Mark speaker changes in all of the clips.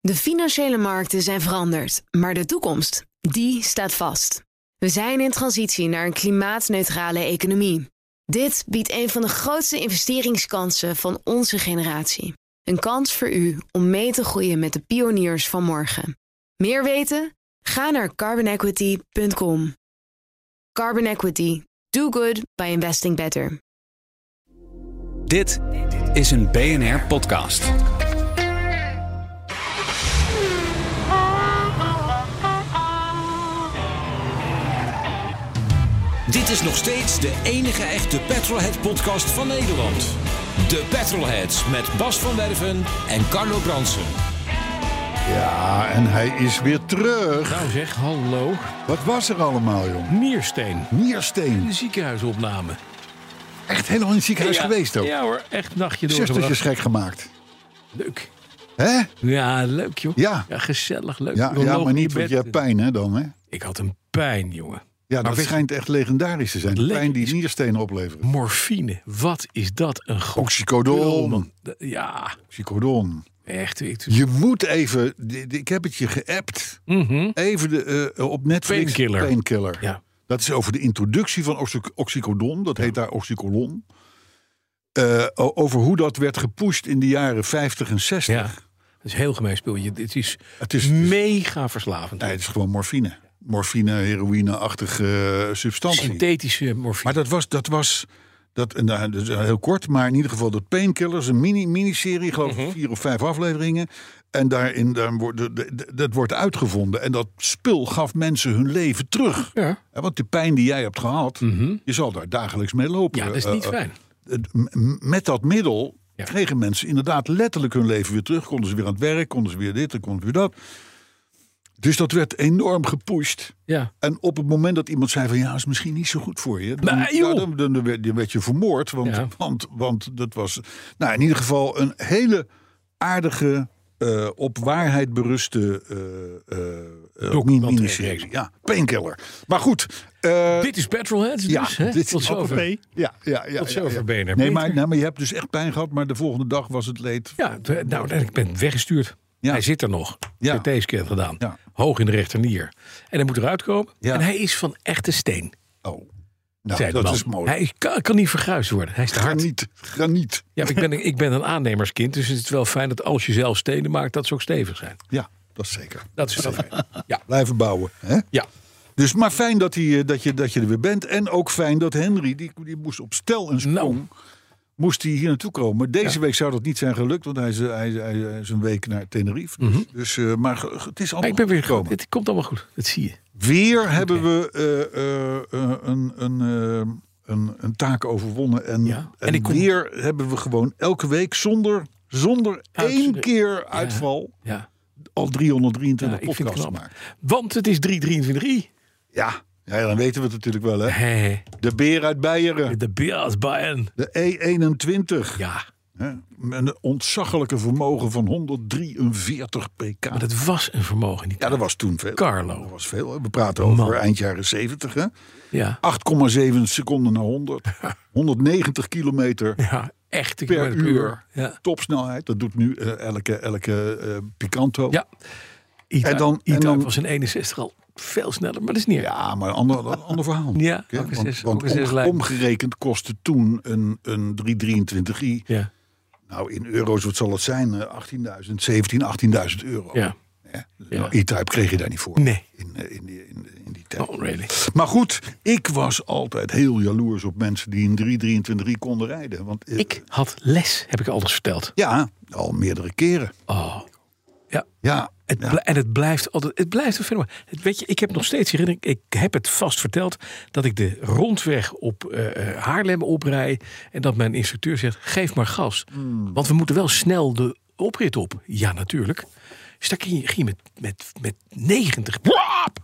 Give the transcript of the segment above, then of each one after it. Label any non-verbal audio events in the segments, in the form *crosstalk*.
Speaker 1: De financiële markten zijn veranderd, maar de toekomst, die staat vast. We zijn in transitie naar een klimaatneutrale economie. Dit biedt een van de grootste investeringskansen van onze generatie. Een kans voor u om mee te groeien met de pioniers van morgen. Meer weten? Ga naar carbonequity.com. Carbon Equity. Do good by investing better.
Speaker 2: Dit is een BNR-podcast.
Speaker 3: Dit is nog steeds de enige echte Petrolhead-podcast van Nederland. De Petrolheads met Bas van Werven en Carlo Bransen.
Speaker 4: Ja, en hij is weer terug.
Speaker 5: Nou zeg, hallo.
Speaker 4: Wat was er allemaal, jong? Hm?
Speaker 5: Niersteen.
Speaker 4: Niersteen.
Speaker 5: De ziekenhuisopname.
Speaker 4: Echt helemaal in het ziekenhuis
Speaker 5: Ja,
Speaker 4: geweest ook.
Speaker 5: Ja hoor, echt nachtje
Speaker 4: Zuchtertjes
Speaker 5: doorgebracht.
Speaker 4: gek gemaakt.
Speaker 5: Leuk.
Speaker 4: Hè?
Speaker 5: Ja, leuk joh.
Speaker 4: Ja.
Speaker 5: gezellig, leuk.
Speaker 4: Ja,
Speaker 5: We
Speaker 4: ja
Speaker 5: lopen
Speaker 4: maar
Speaker 5: in
Speaker 4: niet, want
Speaker 5: bed.
Speaker 4: je hebt pijn, hè, dan, hè?
Speaker 5: Ik had een pijn, jongen.
Speaker 4: Ja, dat
Speaker 5: weet-
Speaker 4: schijnt echt legendarisch te zijn. De
Speaker 5: Lekker
Speaker 4: pijn
Speaker 5: is-
Speaker 4: die nierstenen opleveren.
Speaker 5: Morfine, wat is dat een
Speaker 4: Oh,
Speaker 5: goed... spul,
Speaker 4: Oxycodon.
Speaker 5: man. D- Ja,
Speaker 4: Oxycodon.
Speaker 5: echt. Ik...
Speaker 4: Je moet even... di- di- Ik heb het je geappt.
Speaker 5: Mhm.
Speaker 4: Even de, eh, op Netflix.
Speaker 5: Painkiller.
Speaker 4: Painkiller.
Speaker 5: Ja.
Speaker 4: Dat is over de introductie van oxy- oxycodon. Dat heet daar oxycolon. Eh, o- over hoe dat werd gepusht in de jaren 50 en 60.
Speaker 5: ja, dat is een heel gemeen spul. Je- Dit is,
Speaker 4: Het is-
Speaker 5: mega verslavend.
Speaker 4: Nee, het is gewoon morfine. Morfine, heroïne-achtige eh, substantie.
Speaker 5: Synthetische morfine.
Speaker 4: Maar dat was, dat was dat, en daar- dat is heel kort, maar in ieder geval dat Painkillers, een mini, miniserie, geloof
Speaker 5: Mhm.
Speaker 4: ik, vier of vijf afleveringen. En daarin, daar wordt, de- de- de- dat wordt uitgevonden. En dat spul gaf mensen hun leven terug.
Speaker 5: Ja. Mhm.
Speaker 4: En Want de pijn die jij hebt gehad, je zal daar dagelijks mee lopen.
Speaker 5: Ja, dat is
Speaker 4: Eh,
Speaker 5: niet
Speaker 4: eh,
Speaker 5: fijn.
Speaker 4: het- m- met dat middel
Speaker 5: Ja.
Speaker 4: kregen mensen inderdaad letterlijk hun leven weer terug. Konden ze weer aan het werk, konden ze weer dit en konden ze weer dat. Dus dat werd enorm gepusht.
Speaker 5: Ja.
Speaker 4: En op het moment dat iemand zei van ja, is misschien niet zo goed voor je. Dan,
Speaker 5: Nee, joh.
Speaker 4: ja, dan, dan werd, dan werd je vermoord. Want,
Speaker 5: Ja.
Speaker 4: want, want dat was nou, in ieder geval een hele aardige, eh, op waarheid beruste eh, eh, eh
Speaker 5: Documentaire.
Speaker 4: miniserie. Ja, painkiller. Maar goed. eh,
Speaker 5: Dit is Petrolheads
Speaker 4: ja,
Speaker 5: dus, hè?
Speaker 4: dit
Speaker 5: Tot
Speaker 4: is
Speaker 5: zover.
Speaker 4: ja, ja, ja.
Speaker 5: Tot
Speaker 4: ja,
Speaker 5: zover
Speaker 4: ja.
Speaker 5: ben je
Speaker 4: Nee
Speaker 5: er beter.
Speaker 4: maar, nou, maar je hebt dus echt pijn gehad, maar de volgende dag was het leed.
Speaker 5: Ja, d- nou, ik ben weggestuurd.
Speaker 4: Ja.
Speaker 5: Hij zit er nog.
Speaker 4: Ja.
Speaker 5: Ja. CT-scan gedaan.
Speaker 4: Ja.
Speaker 5: Hoog in de rechternier. En hij moet eruit komen.
Speaker 4: Ja.
Speaker 5: En hij is van echte steen.
Speaker 4: Oh, nou,
Speaker 5: zei de
Speaker 4: dat
Speaker 5: man.
Speaker 4: is mooi.
Speaker 5: Hij kan, kan niet verguisd worden. Hij is te hard.
Speaker 4: Graniet, graniet.
Speaker 5: Ja, maar ik, ben, ik ben een aannemerskind. Dus het is wel fijn dat als je zelf stenen maakt, dat ze ook stevig zijn.
Speaker 4: Ja, dat is zeker.
Speaker 5: Dat is wel fijn. Ja.
Speaker 4: Blijven bouwen. Hè?
Speaker 5: ja.
Speaker 4: Dus, maar fijn dat, hij, eh, dat, je, dat je er weer bent. En ook fijn dat Henry, die, die moest op stel en sprong,
Speaker 5: Nou,
Speaker 4: moest hij hier naartoe komen. Deze
Speaker 5: Ja.
Speaker 4: week zou dat niet zijn gelukt, want hij is, hij, hij- hij is een week naar Tenerife. Dus, dus, eh, maar ge- het is allemaal
Speaker 5: Mhm.
Speaker 4: goed
Speaker 5: ik ben weer
Speaker 4: gekomen.
Speaker 5: gekomen. Het komt allemaal goed. Dat zie je.
Speaker 4: Weer hebben we eh, eh, eh, een, een, eh, een, een taak overwonnen. En,
Speaker 5: Ja,
Speaker 4: en,
Speaker 5: en ik kom-
Speaker 4: weer hebben we gewoon elke week zonder, zonder
Speaker 5: Uit-
Speaker 4: één keer uitval
Speaker 5: Ja.
Speaker 4: al
Speaker 5: Ja,
Speaker 4: 323
Speaker 5: ik vind het
Speaker 4: podcasts
Speaker 5: knap.
Speaker 4: gemaakt.
Speaker 5: Want het is 323.
Speaker 4: Ja. ja, dan weten we het natuurlijk wel. Hè?
Speaker 5: Hé,
Speaker 4: De beer uit Beieren,
Speaker 5: de Bears Bayern.
Speaker 4: de E21.
Speaker 5: Ja,
Speaker 4: Hè? Met een ontzaglijke vermogen van 143 pk.
Speaker 5: maar dat was een vermogen. in die
Speaker 4: Ja, dat was toen veel.
Speaker 5: Carlo.
Speaker 4: Dat was veel. hè. We praten over
Speaker 5: Man.
Speaker 4: eind jaren 70. Hè?
Speaker 5: Ja.
Speaker 4: 8,7 seconden naar
Speaker 5: *laughs*
Speaker 4: 100. 190 kilometer
Speaker 5: Ja, echt. Ik
Speaker 4: per
Speaker 5: ben
Speaker 4: uur.
Speaker 5: puur. Ja.
Speaker 4: Topsnelheid. Dat doet nu eh, elke, elke eh, Picanto.
Speaker 5: ja. Ita,
Speaker 4: En dan- en
Speaker 5: Ita
Speaker 4: dan-
Speaker 5: was in 61 al veel sneller, maar dat is niet erg.
Speaker 4: Ja, maar een ander, een ander verhaal.
Speaker 5: Ja,
Speaker 4: Oké,
Speaker 5: ook een
Speaker 4: want
Speaker 5: zes-
Speaker 4: want
Speaker 5: ook een zes
Speaker 4: om-
Speaker 5: lijn.
Speaker 4: omgerekend kostte toen een, een 323i.
Speaker 5: Ja.
Speaker 4: Nou, in euro's, wat zal het zijn? Eh, 18.000, 17.000, 18.000 euro.
Speaker 5: ja.
Speaker 4: Hè?
Speaker 5: Ja.
Speaker 4: Nou, E-Type kreeg je daar niet voor.
Speaker 5: Nee.
Speaker 4: In, eh, in, die- in, die- in die tijd.
Speaker 5: Oh, really?
Speaker 4: Maar goed, ik was altijd heel jaloers op mensen die een 323 konden rijden. Want, eh,
Speaker 5: Ik had les, heb ik alles verteld.
Speaker 4: Ja, al meerdere keren.
Speaker 5: Oh. Ja.
Speaker 4: Ja,
Speaker 5: Het
Speaker 4: ja.
Speaker 5: bl- En het blijft altijd, het blijft een fenomeen. Het- Weet je, ik heb nog steeds herinnering, ik heb het vast verteld, dat ik de rondweg op eh, eh, Haarlem oprij en dat mijn instructeur zegt, geef maar gas.
Speaker 4: Hmm.
Speaker 5: Want we moeten wel snel de oprit op. Ja, natuurlijk. Dus daar ging je, ging je met, met, met 90, blap,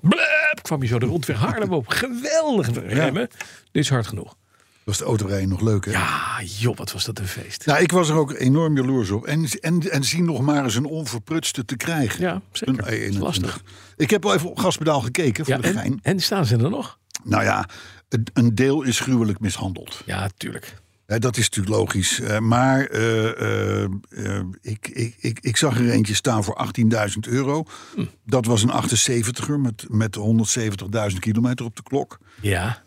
Speaker 5: blap, kwam je zo de rondweg Haarlem
Speaker 4: *laughs*
Speaker 5: op. Geweldig remmen. Dit is hard genoeg.
Speaker 4: was de autorijden nog leuk, hè?
Speaker 5: Ja, joh, wat was dat een feest.
Speaker 4: Nou, ik was er ook enorm jaloers op. En, en, en zie nog maar eens een onverprutste te krijgen.
Speaker 5: Ja, zeker.
Speaker 4: Een E
Speaker 5: Dat is lastig.
Speaker 4: Ik heb wel even op gaspedaal gekeken, voor
Speaker 5: Ja,
Speaker 4: de gein.
Speaker 5: en, en staan ze er nog?
Speaker 4: Nou ja, het- een deel is gruwelijk mishandeld.
Speaker 5: Ja, tuurlijk.
Speaker 4: Ja, dat is natuurlijk logisch. Eh, maar eh, eh, eh, ik, ik, ik, ik zag er eentje staan voor 18.000 euro. Dat was een 78er met, met 170.000 kilometer op de klok.
Speaker 5: Ja.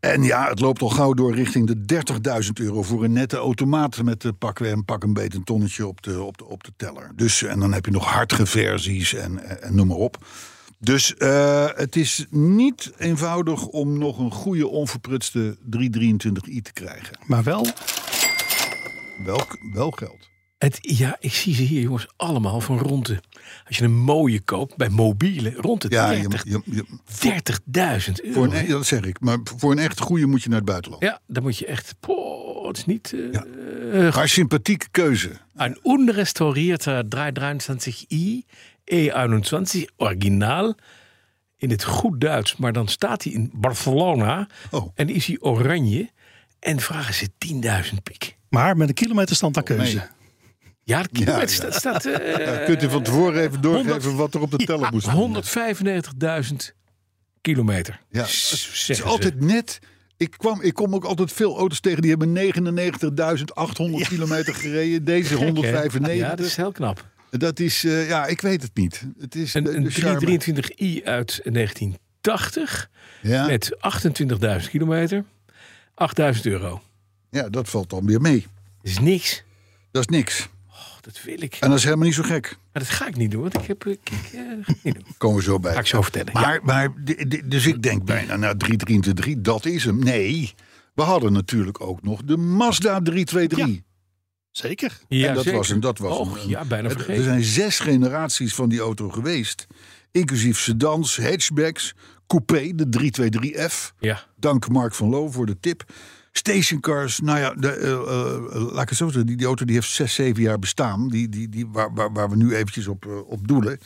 Speaker 4: En ja, het loopt al gauw door richting de 30.000 euro voor een nette automaat met eh, pak, een pak een beet een tonnetje op de, op de, op de teller. Dus, en dan heb je nog hartige versies en, en, en noem maar op. Dus eh, het is niet eenvoudig om nog een goede onverprutste 323i te krijgen.
Speaker 6: Maar wel,
Speaker 4: Wel, wel geld.
Speaker 5: Het, ja, ik zie ze hier, jongens, allemaal van rond de... Als je een mooie koopt, bij mobiele, rond de
Speaker 4: Ja,
Speaker 5: 30
Speaker 4: je, je, je-
Speaker 5: 30.000 euro.
Speaker 4: voor een, e- ja, dat zeg ik. Maar voor een echt goede moet je naar het buitenland.
Speaker 5: Ja, dan moet je echt... Poh, het is niet... eh,
Speaker 4: Maar sympathieke keuze.
Speaker 5: Een eh, onrestaurierter 323i E21 E originaal. In het goed Duits, maar dan staat hij in Barcelona.
Speaker 4: Oh.
Speaker 5: En is hij oranje. En vragen ze 10.000 piek.
Speaker 6: maar met een kilometerstand aan keuze.
Speaker 4: nee.
Speaker 5: Ja, de kilometer
Speaker 4: Ja,
Speaker 5: staat- staat eh,
Speaker 4: Kunt u van tevoren even doorgeven
Speaker 5: 100
Speaker 4: wat er op de teller *laughs* moest staan?
Speaker 5: 195.000 kilometer.
Speaker 4: Ja,
Speaker 5: S-
Speaker 4: het
Speaker 5: zeggen
Speaker 4: is
Speaker 5: ze.
Speaker 4: altijd net. Ik, kwam, ik kom ook altijd veel auto's tegen die hebben 99.800 kilometer gereden. Deze
Speaker 5: Oké.
Speaker 4: 195.
Speaker 5: Ja, dat is heel knap.
Speaker 4: dat is eh, ja, ik weet het niet. Het is de-
Speaker 5: Een, een
Speaker 4: de charme.
Speaker 5: 323i uit 1980
Speaker 4: Ja,
Speaker 5: met 28.000 kilometer. 8.000 euro.
Speaker 4: ja, dat valt dan weer mee.
Speaker 5: Dat is niks.
Speaker 4: Dat is niks.
Speaker 5: Och, dat wil ik.
Speaker 4: En dat is helemaal niet zo gek.
Speaker 5: Maar dat ga ik niet doen, want ik heb. Ik, ik, eh, dat ga ik niet doen.
Speaker 4: Komen we zo
Speaker 5: Ga
Speaker 4: bij.
Speaker 5: ik zo vertellen.
Speaker 4: Maar, maar, di- di- dus ik denk bijna, nou 323, dat is hem. Nee, we hadden natuurlijk ook nog de Mazda 323.
Speaker 6: Zeker.
Speaker 5: ja,
Speaker 4: en dat
Speaker 5: zeker.
Speaker 4: was, een, dat was
Speaker 5: Och,
Speaker 4: een- een-
Speaker 5: ja, bijna
Speaker 4: er-
Speaker 5: vergeten.
Speaker 4: Er zijn zes generaties van die auto geweest. Inclusief sedans, hatchbacks, coupé, de 323F.
Speaker 5: Ja.
Speaker 4: Dank Mark van Loo voor de tip. Stationcars, nou ja, de, eh, eh, laat ik het zo zeggen. Die, die auto die heeft zes, zeven jaar bestaan. Die, die, die, waar, waar, waar we nu eventjes op, eh, op doelen.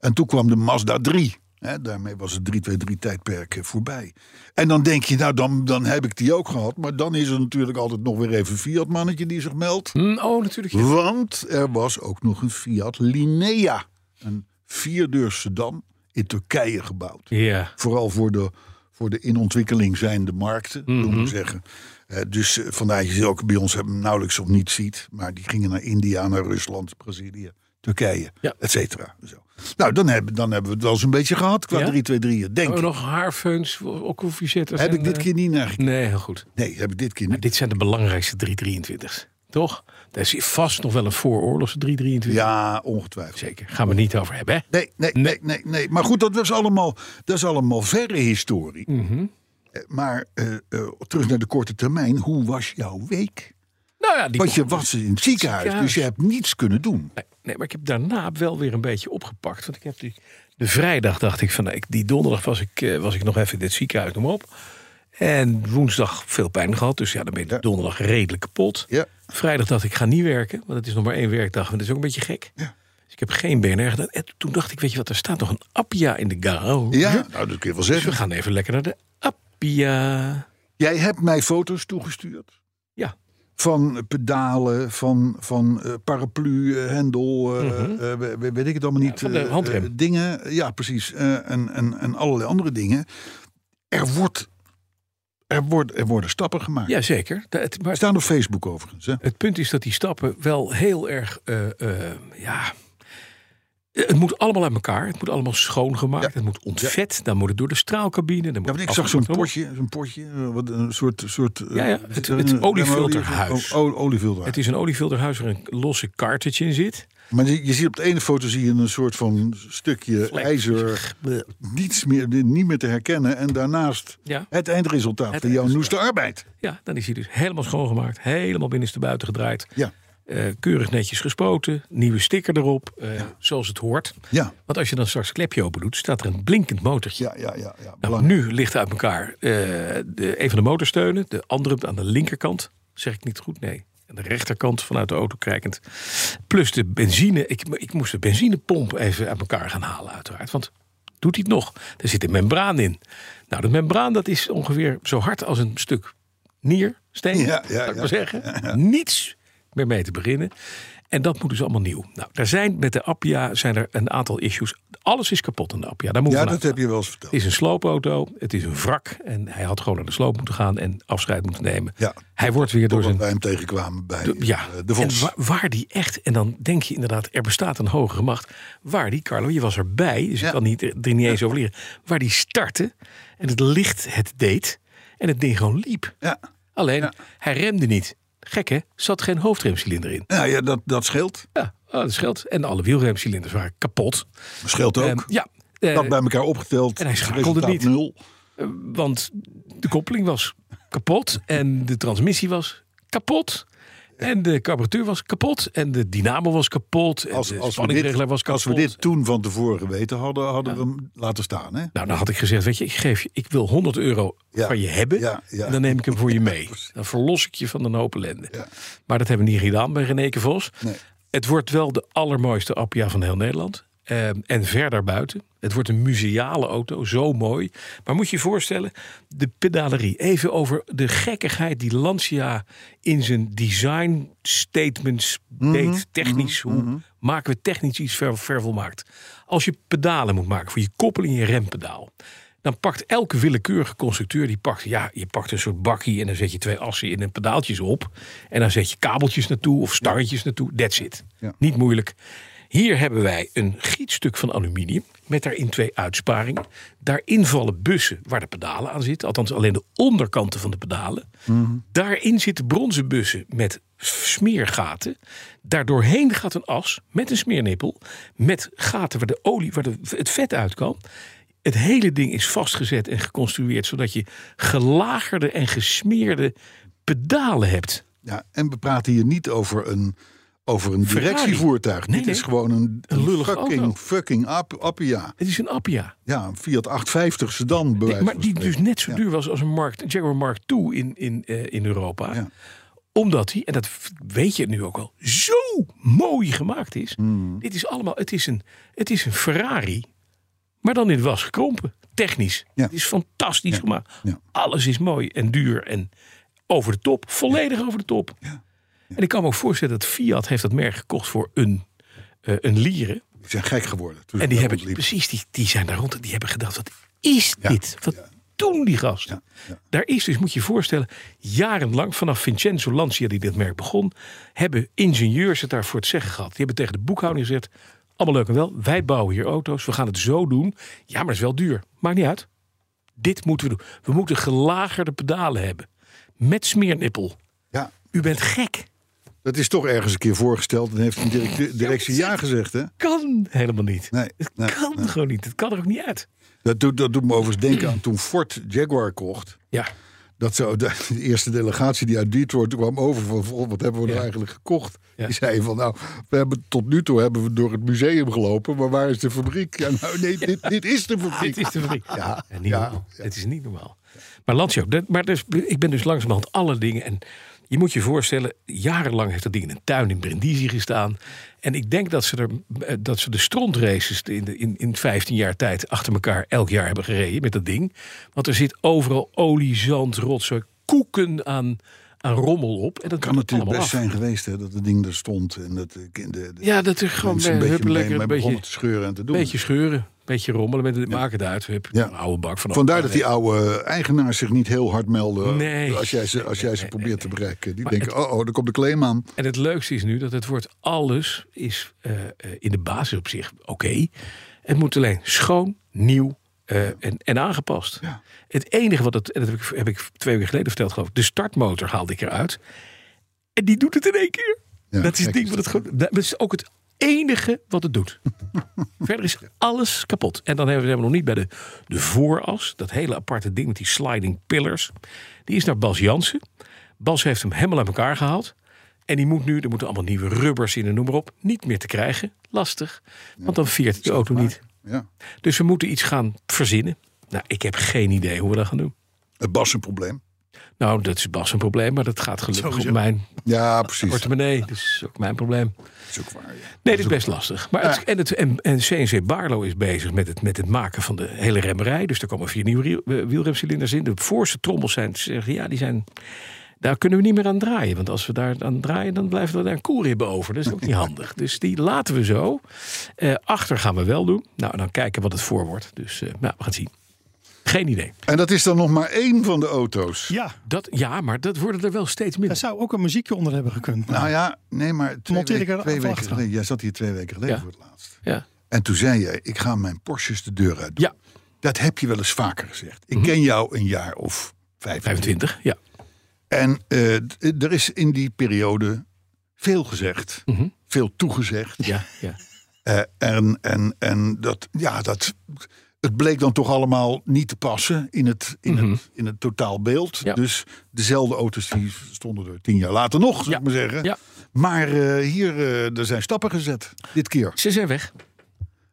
Speaker 4: En toen kwam de Mazda 3. Hè, daarmee was het 323-tijdperk eh, voorbij. En dan denk je, nou, dan, dan heb ik die ook gehad. Maar dan is er natuurlijk altijd nog weer even een Fiat-mannetje die zich meldt.
Speaker 5: Mm, oh, natuurlijk. ja.
Speaker 4: Want er was ook nog een Fiat Linea. Een vierdeurs sedan in Turkije gebouwd.
Speaker 5: Ja.
Speaker 4: Vooral voor de, voor de in ontwikkeling zijnde markten,
Speaker 5: Mhm.
Speaker 4: moet ik zeggen. Eh, dus eh, vandaar dat je ze ook bij ons hebben, nauwelijks of niet ziet. Maar die gingen naar India, naar Rusland, Brazilië, Turkije,
Speaker 5: Ja.
Speaker 4: et cetera. Zo. Nou, dan hebben, dan hebben we het wel eens een beetje gehad qua
Speaker 5: Ja?
Speaker 4: 323, denk
Speaker 5: Oh,
Speaker 4: ik.
Speaker 5: nog haarfeuns, ook koffiezetters.
Speaker 4: Heb
Speaker 5: en,
Speaker 4: ik dit
Speaker 5: eh,
Speaker 4: keer niet naar gekeken?
Speaker 5: Nee, heel goed.
Speaker 4: Nee, heb ik dit keer
Speaker 5: Maar
Speaker 4: niet.
Speaker 5: dit zijn de belangrijkste 323's. Toch? Er is vast nog wel een vooroorlogse 323.
Speaker 4: Ja, ongetwijfeld.
Speaker 5: Zeker. Gaan we het niet over hebben, hè?
Speaker 4: Nee, nee, nee, nee, nee. Maar goed, dat, was allemaal, dat is allemaal verre historie. Eh, Maar eh, eh, terug naar de korte termijn. Hoe was jouw week?
Speaker 5: Nou ja, die
Speaker 4: Want je was in het ziekenhuis, dus je hebt niets kunnen doen.
Speaker 5: Nee, nee, maar ik heb daarna wel weer een beetje opgepakt. Want ik heb die, de vrijdag dacht ik van, nou, ik, die donderdag was ik, eh, was ik nog even in dit ziekenhuis om op. En woensdag veel pijn gehad, dus ja, dan ben je
Speaker 4: Ja.
Speaker 5: donderdag redelijk kapot.
Speaker 4: Ja.
Speaker 5: Vrijdag dacht ik, ga niet werken, want het is nog maar één werkdag. En dat is ook een beetje gek.
Speaker 4: Ja.
Speaker 5: Dus ik heb geen BNR gedaan. En toen dacht ik, weet je wat, er staat nog een Appia in de garage.
Speaker 4: Ja, nou, dat kun je wel
Speaker 5: Dus we
Speaker 4: zeggen.
Speaker 5: gaan even lekker naar de Appia.
Speaker 4: Jij hebt mij foto's toegestuurd.
Speaker 5: Ja.
Speaker 4: Van eh, pedalen, van, van eh, paraplu, eh, hendel, eh, eh, we- we- weet ik het allemaal niet.
Speaker 5: Mhm. van de
Speaker 4: eh,
Speaker 5: handrem.
Speaker 4: eh, dingen, ja precies. eh, en, en, en allerlei andere dingen. Er, wordt, er, wordt, er worden stappen gemaakt.
Speaker 5: Jazeker. Da- het- maar
Speaker 4: We staan op Facebook overigens. Hè?
Speaker 5: Het punt is dat die stappen wel heel erg, eh, eh, ja... Het moet allemaal uit elkaar. Het moet allemaal schoongemaakt.
Speaker 4: Ja.
Speaker 5: Het moet ontvet. Dan moet het door de straalcabine. Dan
Speaker 4: Ja,
Speaker 5: moet
Speaker 4: want
Speaker 5: het
Speaker 4: ik zag zo'n
Speaker 5: afgevoerd
Speaker 4: potje, zo'n potje, eh, wat een soort... soort eh,
Speaker 5: Ja, ja,
Speaker 4: zit
Speaker 5: het-
Speaker 4: er
Speaker 5: het
Speaker 4: een-
Speaker 5: oliefilterhuis.
Speaker 4: Oh,
Speaker 5: worden.
Speaker 4: oliefilterhuis.
Speaker 5: Het is een olievulderhuis waar een losse kartetje in zit.
Speaker 4: Maar je, je ziet op de ene foto zie je een soort van stukje
Speaker 5: Vlek.
Speaker 4: ijzer, niets meer, niet meer te herkennen. En daarnaast
Speaker 5: Ja.
Speaker 4: het eindresultaat
Speaker 5: Het
Speaker 4: van jouw
Speaker 5: eindresultaat.
Speaker 4: noeste arbeid.
Speaker 5: Ja, dan is hij dus helemaal schoongemaakt. Helemaal binnenstebuiten gedraaid.
Speaker 4: Ja,
Speaker 5: eh, keurig netjes gespoten. Nieuwe sticker erop. eh, Zoals het hoort.
Speaker 4: ja,
Speaker 5: Want als je dan straks het klepje open doet, staat er een blinkend motortje.
Speaker 4: ja, ja, ja. ja.
Speaker 5: Nou,
Speaker 4: belangrijk.
Speaker 5: nu ligt uit elkaar eh, de, een van de motorsteunen, de andere aan de linkerkant. Zeg ik niet goed? Nee. Aan de rechterkant vanuit de auto kijkend. Plus de benzine. Ik, ik moest de benzinepomp even uit elkaar gaan halen, uiteraard. Want doet hij het nog? Er zit een membraan in. Nou, de membraan dat is ongeveer zo hard als een stuk niersteen.
Speaker 4: Ja, ja,
Speaker 5: zou ik
Speaker 4: ja.
Speaker 5: maar zeggen. Niets meer mee te beginnen. En dat moet dus allemaal nieuw. Nou, daar zijn met de Appia zijn er een aantal issues. Alles is kapot in de Appia. Daar moeten
Speaker 4: Ja,
Speaker 5: we
Speaker 4: dat
Speaker 5: vanuit
Speaker 4: heb je wel eens verteld.
Speaker 5: gaan. Het is een sloopauto, het is een wrak. En hij had gewoon naar de sloop moeten gaan en afscheid moeten nemen.
Speaker 4: Ja.
Speaker 5: Hij wordt weer door
Speaker 4: Doordat
Speaker 5: zijn
Speaker 4: wij hem tegenkwamen bij eh, de,
Speaker 5: ja, en
Speaker 4: Vos.
Speaker 5: wa- waar die echt, en dan denk je inderdaad, er bestaat een hogere macht. Waar die, Carlo, je was erbij, dus
Speaker 4: Ja.
Speaker 5: ik kan niet, er niet eens over leren. Waar die startte en het licht het deed en het ding gewoon liep.
Speaker 4: ja.
Speaker 5: Alleen, hij remde niet. Gek hè, zat geen hoofdremcilinder in.
Speaker 4: Nou ja, dat, dat scheelt.
Speaker 5: Ja, oh, dat scheelt. En alle wielremcilinders waren kapot.
Speaker 4: Scheelt ook.
Speaker 5: Ehm, ja, eh,
Speaker 4: dat bij elkaar opgeteld.
Speaker 5: en hij
Speaker 4: is
Speaker 5: schakelde
Speaker 4: resultaat
Speaker 5: niet.
Speaker 4: Nul.
Speaker 5: want de koppeling was kapot en de transmissie was kapot. En de carburateur was kapot en de dynamo was kapot. En
Speaker 4: Als,
Speaker 5: Eh, de
Speaker 4: als, we
Speaker 5: spanningregelaar was
Speaker 4: dit,
Speaker 5: kapot.
Speaker 4: als we dit toen van tevoren geweten hadden, hadden we hem laten staan. Hè?
Speaker 5: Nou, dan had ik gezegd, weet je, ik geef je, ik wil 100 euro
Speaker 4: Ja,
Speaker 5: van je hebben.
Speaker 4: ja, ja.
Speaker 5: En dan neem ik hem voor je mee. Dan verlos ik je van een hoop ellende. Maar dat hebben we niet gedaan bij Reneke Vos.
Speaker 4: Nee.
Speaker 5: Het wordt wel de allermooiste Appia van heel Nederland. Ehm, en verder buiten. Het wordt een museale auto, zo mooi. Maar moet je je voorstellen, de pedalerie. Even over de gekkigheid die Lancia in zijn design statements deed. Technisch, hoe maken we technisch iets ver, vervolmaakt. Als je pedalen moet maken voor je koppeling en je rempedaal. Dan pakt elke willekeurige constructeur, die pakt, ja, je pakt een soort bakkie en dan zet je twee assen in en pedaaltjes op. En dan zet je kabeltjes naartoe of stangetjes naartoe. That's it.
Speaker 4: Ja.
Speaker 5: Niet moeilijk. Hier hebben wij een gietstuk van aluminium met daarin twee uitsparingen. Daarin vallen bussen waar de pedalen aan zitten, althans alleen de onderkanten van de pedalen. Daarin zitten bronzen bussen met smeergaten. Daardoorheen gaat een as met een smeernippel, met gaten waar de olie, waar de, het vet uit kan. Het hele ding is vastgezet en geconstrueerd zodat je gelagerde en gesmeerde pedalen hebt.
Speaker 4: Ja, en we praten hier niet over een, over een
Speaker 5: Ferrari.
Speaker 4: directievoertuig.
Speaker 5: Nee,
Speaker 4: dit
Speaker 5: nee.
Speaker 4: is gewoon een,
Speaker 5: Een lullige
Speaker 4: fucking,
Speaker 5: auto.
Speaker 4: fucking app, Appia.
Speaker 5: Het is een Appia.
Speaker 4: Ja, een Fiat 850 sedan. Bij wijze
Speaker 5: maar
Speaker 4: van
Speaker 5: die
Speaker 4: spreken.
Speaker 5: dus net zo
Speaker 4: Ja.
Speaker 5: duur was als een Mark, Jaguar Mark II in, in, eh, in Europa.
Speaker 4: Ja.
Speaker 5: Omdat hij, en dat weet je nu ook wel, zo mooi gemaakt is.
Speaker 4: Hmm.
Speaker 5: Dit is allemaal, het is, een, het is een Ferrari, maar dan in was gekrompen. Technisch.
Speaker 4: Ja.
Speaker 5: Het is fantastisch gemaakt.
Speaker 4: Ja.
Speaker 5: Alles is mooi en duur en over de top. Volledig over de top. En ik kan me ook voorstellen dat Fiat heeft dat merk gekocht voor een, eh, een lieren.
Speaker 4: Die zijn gek geworden. toen
Speaker 5: En
Speaker 4: ze
Speaker 5: die
Speaker 4: daar
Speaker 5: hebben
Speaker 4: rondliepen.
Speaker 5: precies, die, die zijn daar rond en die hebben gedacht: wat is
Speaker 4: Ja,
Speaker 5: dit? Wat doen die gasten?
Speaker 4: ja.
Speaker 5: Daar is dus, moet je je voorstellen, jarenlang vanaf Vincenzo Lancia, die dit merk begon, hebben ingenieurs het daarvoor het zeggen gehad. Die hebben tegen de boekhouding gezegd: allemaal leuk en wel, wij bouwen hier auto's, we gaan het zo doen. Ja, maar het is wel duur. Maakt niet uit. Dit moeten we doen. We moeten gelagerde pedalen hebben. Met smeernippel.
Speaker 4: Ja,
Speaker 5: U bent gek.
Speaker 4: dat is toch ergens een keer voorgesteld. En heeft een directe- directie ja gezegd, hè?
Speaker 5: Kan helemaal niet.
Speaker 4: Nee,
Speaker 5: het
Speaker 4: nee,
Speaker 5: kan gewoon niet. Het kan er ook niet uit.
Speaker 4: Dat doet, dat doet me overigens denken aan toen Ford Jaguar kocht.
Speaker 5: Ja.
Speaker 4: Dat zo, de, de eerste delegatie die uit Detroit kwam over van "Goh, wat hebben we nou
Speaker 5: Ja.
Speaker 4: eigenlijk gekocht?
Speaker 5: Ja.
Speaker 4: Die zei van nou, we hebben, tot nu toe hebben we door het museum gelopen, maar waar is de fabriek? Ja, nou, nee, dit, dit is de fabriek.
Speaker 5: Ah, Dit is de fabriek.
Speaker 4: Ah, Ja,
Speaker 5: En niet
Speaker 4: ja,
Speaker 5: normaal. Het is niet normaal. Maar Lancia, dat- maar dus, ik ben dus langzamerhand alle dingen. En je moet je voorstellen, jarenlang heeft dat ding in een tuin in Brindisi gestaan. En ik denk dat ze, er, eh, dat ze de strontraces in, de- in, in 15 jaar tijd achter elkaar elk jaar hebben gereden met dat ding. Want er zit overal olie, zand, rotsen, koeken aan, aan rommel op. En dat
Speaker 4: kan natuurlijk best
Speaker 5: allemaal af.
Speaker 4: zijn geweest hè, dat het ding er stond en dat de kinderen
Speaker 5: Ja, dat er gewoon
Speaker 4: mensen een beetje mee,
Speaker 5: huppelen,
Speaker 4: mee
Speaker 5: een
Speaker 4: begonnen
Speaker 5: beetje,
Speaker 4: te scheuren en te doen.
Speaker 5: beetje scheuren, beetje rommelen. Met het, Maak het uit. Hup,
Speaker 4: Ja.
Speaker 5: een oude bak van
Speaker 4: Vandaar dat die oude eigenaars zich niet heel hard melden
Speaker 5: Nee.
Speaker 4: als jij ze, als jij ze probeert te bereiken. Die
Speaker 5: Maar
Speaker 4: denken, oh, oh, daar komt de claim aan.
Speaker 5: En het leukste is nu dat het woord alles is eh, eh, in de basis op zich oké. Het moet alleen schoon, nieuw eh, en, en aangepast.
Speaker 4: Ja.
Speaker 5: Het enige wat het, en dat heb ik, heb ik twee weken geleden verteld geloof ik, de startmotor haalde ik eruit. En die doet het in één keer.
Speaker 4: Ja,
Speaker 5: dat is
Speaker 4: gek
Speaker 5: het ding
Speaker 4: is
Speaker 5: wat het gewoon, dat is ook het enige wat het
Speaker 4: *laughs*
Speaker 5: doet. Verder is alles kapot. En dan hebben we, hebben we nog niet bij de, de vooras. Dat hele aparte ding met die sliding pillars. Die is naar Bas Jansen. Bas heeft hem helemaal uit elkaar gehaald. En die moet nu, er moeten allemaal nieuwe rubbers in en noem maar op. Niet meer te krijgen. Lastig. Want dan veert de auto niet.
Speaker 4: Ja.
Speaker 5: Dus we moeten iets gaan verzinnen. Nou, ik heb geen idee hoe we dat gaan doen.
Speaker 4: Het was een probleem.
Speaker 5: Nou, dat is Bas een probleem, maar dat gaat gelukkig op mijn
Speaker 4: Ja, precies.
Speaker 5: portemonnee. Dat is ook mijn probleem.
Speaker 4: Dat is ook waar, ja.
Speaker 5: Nee, dat is best lastig. Maar het, en, het, en, en CNC Barlo is bezig met het, met het maken van de hele remmerij. Dus er komen vier nieuwe rie- eh, wielremcilinders in. De voorste trommels zijn, ze zeggen, ja, die zijn Daar kunnen we niet meer aan draaien. Want als we daar aan draaien, dan blijven we daar een koerrib over. Dat
Speaker 4: *laughs*
Speaker 5: is ook niet handig. Dus die laten we zo. Eh, achter gaan we wel doen. Nou, dan kijken wat het voor wordt. Dus eh, nou, we gaan het zien. Geen idee.
Speaker 4: En dat is dan nog maar één van de auto's.
Speaker 6: Ja,
Speaker 5: Dat, ja, maar dat worden er wel steeds
Speaker 6: daar
Speaker 5: minder.
Speaker 6: zou ook een muziekje onder hebben gekund.
Speaker 4: Nou ja, nee, maar twee,
Speaker 6: Monteer ik
Speaker 4: weken,
Speaker 6: er
Speaker 4: twee
Speaker 6: af
Speaker 4: weken
Speaker 6: achter.
Speaker 4: geleden. Jij zat hier twee weken geleden
Speaker 5: Ja.
Speaker 4: voor het laatst.
Speaker 5: Ja.
Speaker 4: En toen zei jij, ik ga mijn Porsches de deur uit doen.
Speaker 5: ja, Mhm.
Speaker 4: Dat heb je wel eens vaker gezegd. Ik ken jou een jaar of 25.
Speaker 5: 25. Ja.
Speaker 4: En eh, d- er is in die periode veel gezegd.
Speaker 5: Mhm.
Speaker 4: Veel toegezegd.
Speaker 5: Ja, ja.
Speaker 4: Eh, en en, en dat, ja, dat, het bleek dan toch allemaal niet te passen in het, in het, in het totaalbeeld.
Speaker 5: Mhm. Ja.
Speaker 4: Dus dezelfde auto's die stonden er tien jaar later nog, zou
Speaker 5: Ja.
Speaker 4: ik maar zeggen.
Speaker 5: Ja.
Speaker 4: Maar eh, hier eh, er zijn stappen gezet, dit keer.
Speaker 5: Ze zijn weg.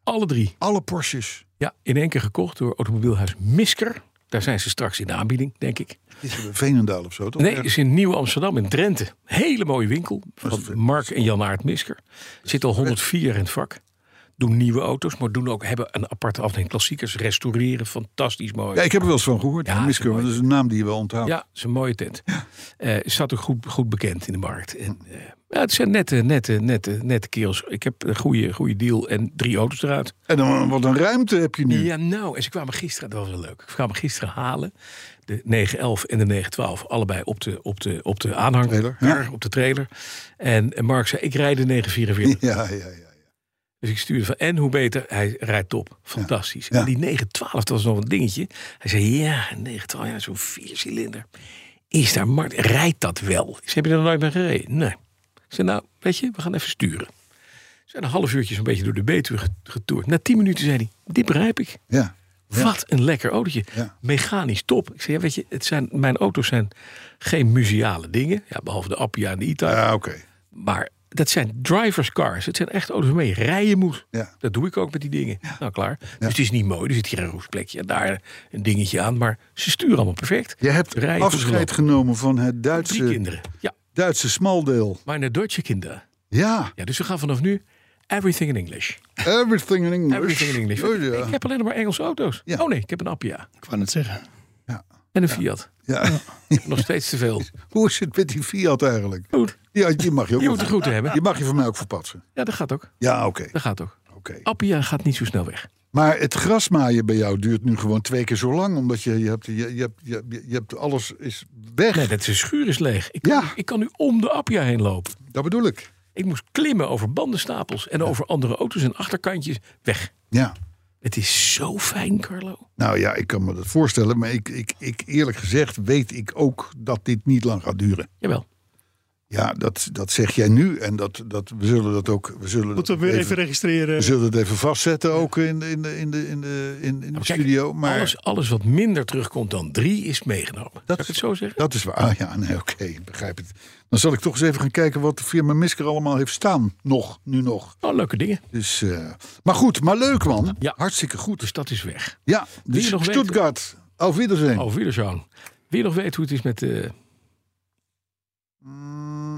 Speaker 5: Alle drie.
Speaker 4: Alle Porsches.
Speaker 5: Ja, in één keer gekocht door automobielhuis Misker. Daar zijn ze straks in de aanbieding, denk ik.
Speaker 4: Dit is Veenendaal of zo, toch?
Speaker 5: Nee, is in Nieuw Amsterdam in Drenthe. Hele mooie winkel van Mark en Jan Aert Misker. Zit al 104 in het vak. Doen nieuwe auto's, maar doen ook, hebben een aparte afdeling klassiekers. Restaureren, fantastisch mooi.
Speaker 4: Ja, ik heb er wel eens van gehoord.
Speaker 5: Ja,
Speaker 4: Miske, want dat is een naam die je wel onthoudt.
Speaker 5: Ja, is een mooie tent. Eh, staat ook goed, goed bekend in de markt. En, eh, ja, het zijn nette, nette, nette, nette kerels. Ik heb een goede, goede deal en drie auto's eruit.
Speaker 4: En dan, wat een ruimte heb je nu.
Speaker 5: Ja, nou, en ze kwamen gisteren, dat was wel leuk. Ze kwamen gisteren halen, de 911 en de 912, allebei op de, op de, op de aanhanger,
Speaker 4: Trailer,
Speaker 5: daar,
Speaker 4: ja.
Speaker 5: op de trailer. En en Mark zei, ik rijd de 944.
Speaker 4: *laughs* Ja, ja, ja. ja.
Speaker 5: Dus ik stuurde van, en hoe beter, hij rijdt top, fantastisch.
Speaker 4: Ja.
Speaker 5: En die 912, dat was nog een dingetje. Hij zei, ja, een 912, ja, zo'n viercilinder. Is daar markt, rijdt dat wel? Ik zei, heb je er nooit mee gereden? Nee. Ik zei, nou, weet je, we gaan even sturen. We zijn een half uurtje zo'n beetje door de Betuwe get- getoerd. Na tien minuten zei hij, dit begrijp ik.
Speaker 4: ja.
Speaker 5: Wat een lekker autootje.
Speaker 4: Ja.
Speaker 5: Mechanisch top. Ik zei, ja, weet je, het zijn, mijn auto's zijn geen museale dingen. Ja, behalve de Appia en de Ita.
Speaker 4: Ja, Ah, oké.
Speaker 5: Maar dat zijn drivers cars. Het zijn echt auto's waarmee je rijden moet.
Speaker 4: Ja.
Speaker 5: Dat doe ik ook met die dingen. Nou, klaar. Dus het is niet mooi. Er zit hier een roestplekje en daar een dingetje aan. Maar ze sturen allemaal perfect.
Speaker 4: Je hebt
Speaker 5: Rijden goed
Speaker 4: afscheid
Speaker 5: gelopen.
Speaker 4: genomen van het
Speaker 5: Drie
Speaker 4: Duitse,
Speaker 5: kinderen. Ja,
Speaker 4: Duitse smaldeel.
Speaker 5: maar naar Duitse kinderen.
Speaker 4: Ja,
Speaker 5: Ja, dus we gaan vanaf nu everything in English.
Speaker 4: everything in English.
Speaker 5: Everything in English.
Speaker 4: Oh,
Speaker 5: Ik
Speaker 4: ja.
Speaker 5: heb alleen nog maar Engelse auto's.
Speaker 4: Ja.
Speaker 5: Oh nee, ik heb een Appia.
Speaker 6: Ik wou het zeggen.
Speaker 5: En een Fiat.
Speaker 4: Ja. *laughs*
Speaker 5: Nog steeds te veel.
Speaker 4: Hoe is het met die Fiat eigenlijk?
Speaker 5: Goed.
Speaker 4: Ja, die mag je ook
Speaker 5: Je moet de groeten hebben.
Speaker 4: Die mag je van mij ook verpatsen.
Speaker 5: Ja, dat gaat ook.
Speaker 4: Ja, oké.
Speaker 5: Dat gaat ook.
Speaker 4: oké.
Speaker 5: Appia gaat niet zo snel weg.
Speaker 4: Maar het grasmaaien bij jou duurt nu gewoon twee keer zo lang. Omdat je, je, hebt, je, je, hebt- je, je hebt alles is weg.
Speaker 5: Nee, dat zijn schuur is leeg. Ik kan,
Speaker 4: Ja.
Speaker 5: ik kan nu om de Appia heen lopen.
Speaker 4: Dat bedoel ik.
Speaker 5: Ik moest klimmen over bandenstapels en over andere auto's en achterkantjes. Weg.
Speaker 4: Ja.
Speaker 5: Het is zo fijn, Carlo.
Speaker 4: Nou ja, ik kan me dat voorstellen. Maar ik, ik, ik, eerlijk gezegd weet ik ook dat dit niet lang gaat duren.
Speaker 5: Jawel.
Speaker 4: Ja, dat, dat zeg jij nu. En dat, dat, we zullen dat ook. We zullen
Speaker 6: Moeten
Speaker 4: dat
Speaker 6: we
Speaker 4: ook
Speaker 6: weer even registreren.
Speaker 4: we zullen het even vastzetten ook in de, in de, in de, in de, in, in de
Speaker 5: Nou, Kijk,
Speaker 4: studio. Maar
Speaker 5: Alles, alles wat minder terugkomt dan drie is meegenomen. Dat Zou ik het zo zeggen?
Speaker 4: dat is waar. *laughs* Ah, ja, nee, oké, ik begrijp het. Dan zal ik toch eens even gaan kijken wat de firma Misker allemaal heeft staan. Nog, nu nog.
Speaker 5: Nou, leuke dingen.
Speaker 4: Dus, eh, maar goed, maar leuk man.
Speaker 5: Ja.
Speaker 4: Hartstikke goed.
Speaker 5: Dus dat is weg.
Speaker 4: Ja, dus
Speaker 5: je nog weten?
Speaker 4: Stuttgart. Auf Wiedersehen.
Speaker 5: Oh, Wiederschauen. Wie nog weet hoe het is met... eh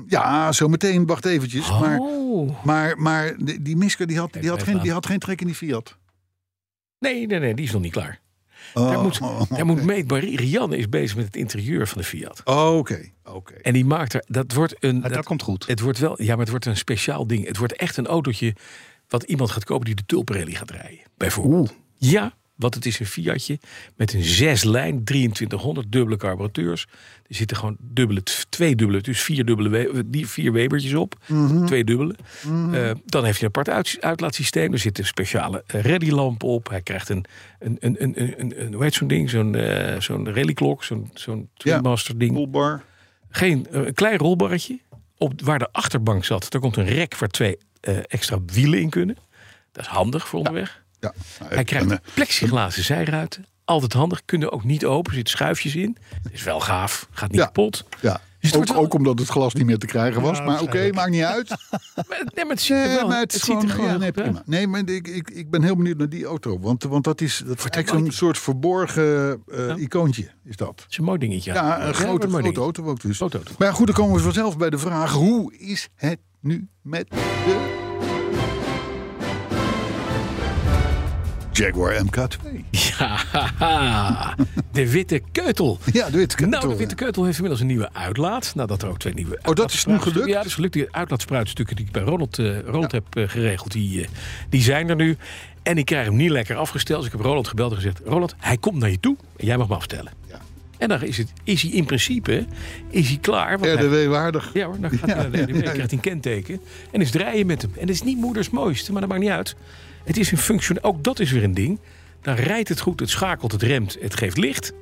Speaker 4: Ja, zometeen. Wacht eventjes. Maar,
Speaker 5: Oh.
Speaker 4: maar, maar die die Misker die had, die, had
Speaker 5: even
Speaker 4: geen,
Speaker 5: aan.
Speaker 4: die had geen trek in die Fiat.
Speaker 5: Nee, nee, nee, die is nog niet klaar. Daar
Speaker 4: Oh,
Speaker 5: moet,
Speaker 4: oh,
Speaker 5: daar moet mee... Maar Rianne is bezig met het interieur van de Fiat.
Speaker 4: oh, Oké, oké.
Speaker 5: En die maakt er... Dat wordt
Speaker 4: Ah,
Speaker 5: een...
Speaker 6: Ja, dat
Speaker 5: dat-
Speaker 6: komt goed.
Speaker 5: Het wordt wel, ja, maar het wordt een speciaal ding. Het wordt echt een autootje wat iemand gaat kopen die de Tulprally gaat rijden. Bijvoorbeeld. Ja, want het is een Fiatje met een zeslijn, 2300, dubbele carburateurs. Er zitten gewoon dubbele, twee dubbele, dus vier, dubbele, we- die vier Webertjes op. Twee dubbele. Eh, dan heeft je een apart uit, uitlaatsysteem. Er zit een speciale eh, readylamp op. Hij krijgt een, een, een, een, een, een, hoe heet zo'n ding? Zo'n eh, zo'n rallyklok, zo'n zo'n
Speaker 4: Ja.
Speaker 5: Twinmaster ding
Speaker 4: Toolbar.
Speaker 5: geen eh, een klein rolbarretje. Op, waar de achterbank zat, daar komt een rek waar twee eh, extra wielen in kunnen. Dat is handig voor onderweg.
Speaker 4: Ja. Nou,
Speaker 5: Hij
Speaker 4: ik- en, eh,
Speaker 5: krijgt plexiglazen zijruiten. Altijd handig, kunnen ook niet open, er zitten schuifjes in. Dat is wel gaaf, gaat niet
Speaker 4: Ja.
Speaker 5: kapot.
Speaker 4: Ja,
Speaker 5: Dus het
Speaker 4: ook,
Speaker 5: wordt wel-
Speaker 4: ook omdat het glas niet meer te krijgen was.
Speaker 6: Ja,
Speaker 4: maar oké,
Speaker 6: waarschijnlijk.
Speaker 4: maakt
Speaker 5: *laughs*
Speaker 4: niet uit.
Speaker 5: Maar, nee, maar het ziet er
Speaker 4: Eh,
Speaker 5: wel,
Speaker 4: maar
Speaker 5: het
Speaker 4: is
Speaker 5: ziet er
Speaker 4: gewoon-
Speaker 5: gewoon
Speaker 4: ja,
Speaker 5: heel
Speaker 4: nee,
Speaker 5: goed uit.
Speaker 4: prima. Nee, maar ik, ik, ik ben heel benieuwd naar die auto. Want, want dat is, dat is eigenlijk zo'n soort verborgen eh, icoontje, is dat.
Speaker 5: Het is een mooi dingetje.
Speaker 4: Ja, een grote,
Speaker 5: mooi
Speaker 4: grote
Speaker 5: ding.
Speaker 4: auto ook dus.
Speaker 5: Grote auto.
Speaker 4: Maar goed, dan komen we vanzelf bij de vraag... hoe is het nu met de... Jaguar MK2.
Speaker 5: Ja, Ah, de witte keutel.
Speaker 4: *laughs* Ja, de witte keutel,
Speaker 5: Nou, de witte
Speaker 4: ja.
Speaker 5: keutel heeft inmiddels een nieuwe uitlaat. Nadat er ook twee nieuwe
Speaker 4: dat is nu
Speaker 5: uitlaatspruitstukken-
Speaker 4: gelukt?
Speaker 5: Ja, dat is gelukt. Die uitlaatspruitstukken die ik bij Ronald, eh, Ronald heb eh, geregeld, die, eh, die zijn er nu. En ik krijg hem niet lekker afgesteld. Dus ik heb Roland gebeld en gezegd... Roland, hij komt naar je toe en jij mag me aftellen.
Speaker 4: Ja.
Speaker 5: En dan is, het, is hij in principe is hij klaar. want hij-
Speaker 4: RDW-waardig.
Speaker 5: ja hoor, dan gaat hij naar de RDW, krijgt hij een kenteken. En is draaien met hem. En dat is niet moeders mooiste, maar dat maakt niet uit. Het is een functie, ook dat is weer een ding. Dan rijdt het goed, het schakelt, het remt, het geeft licht.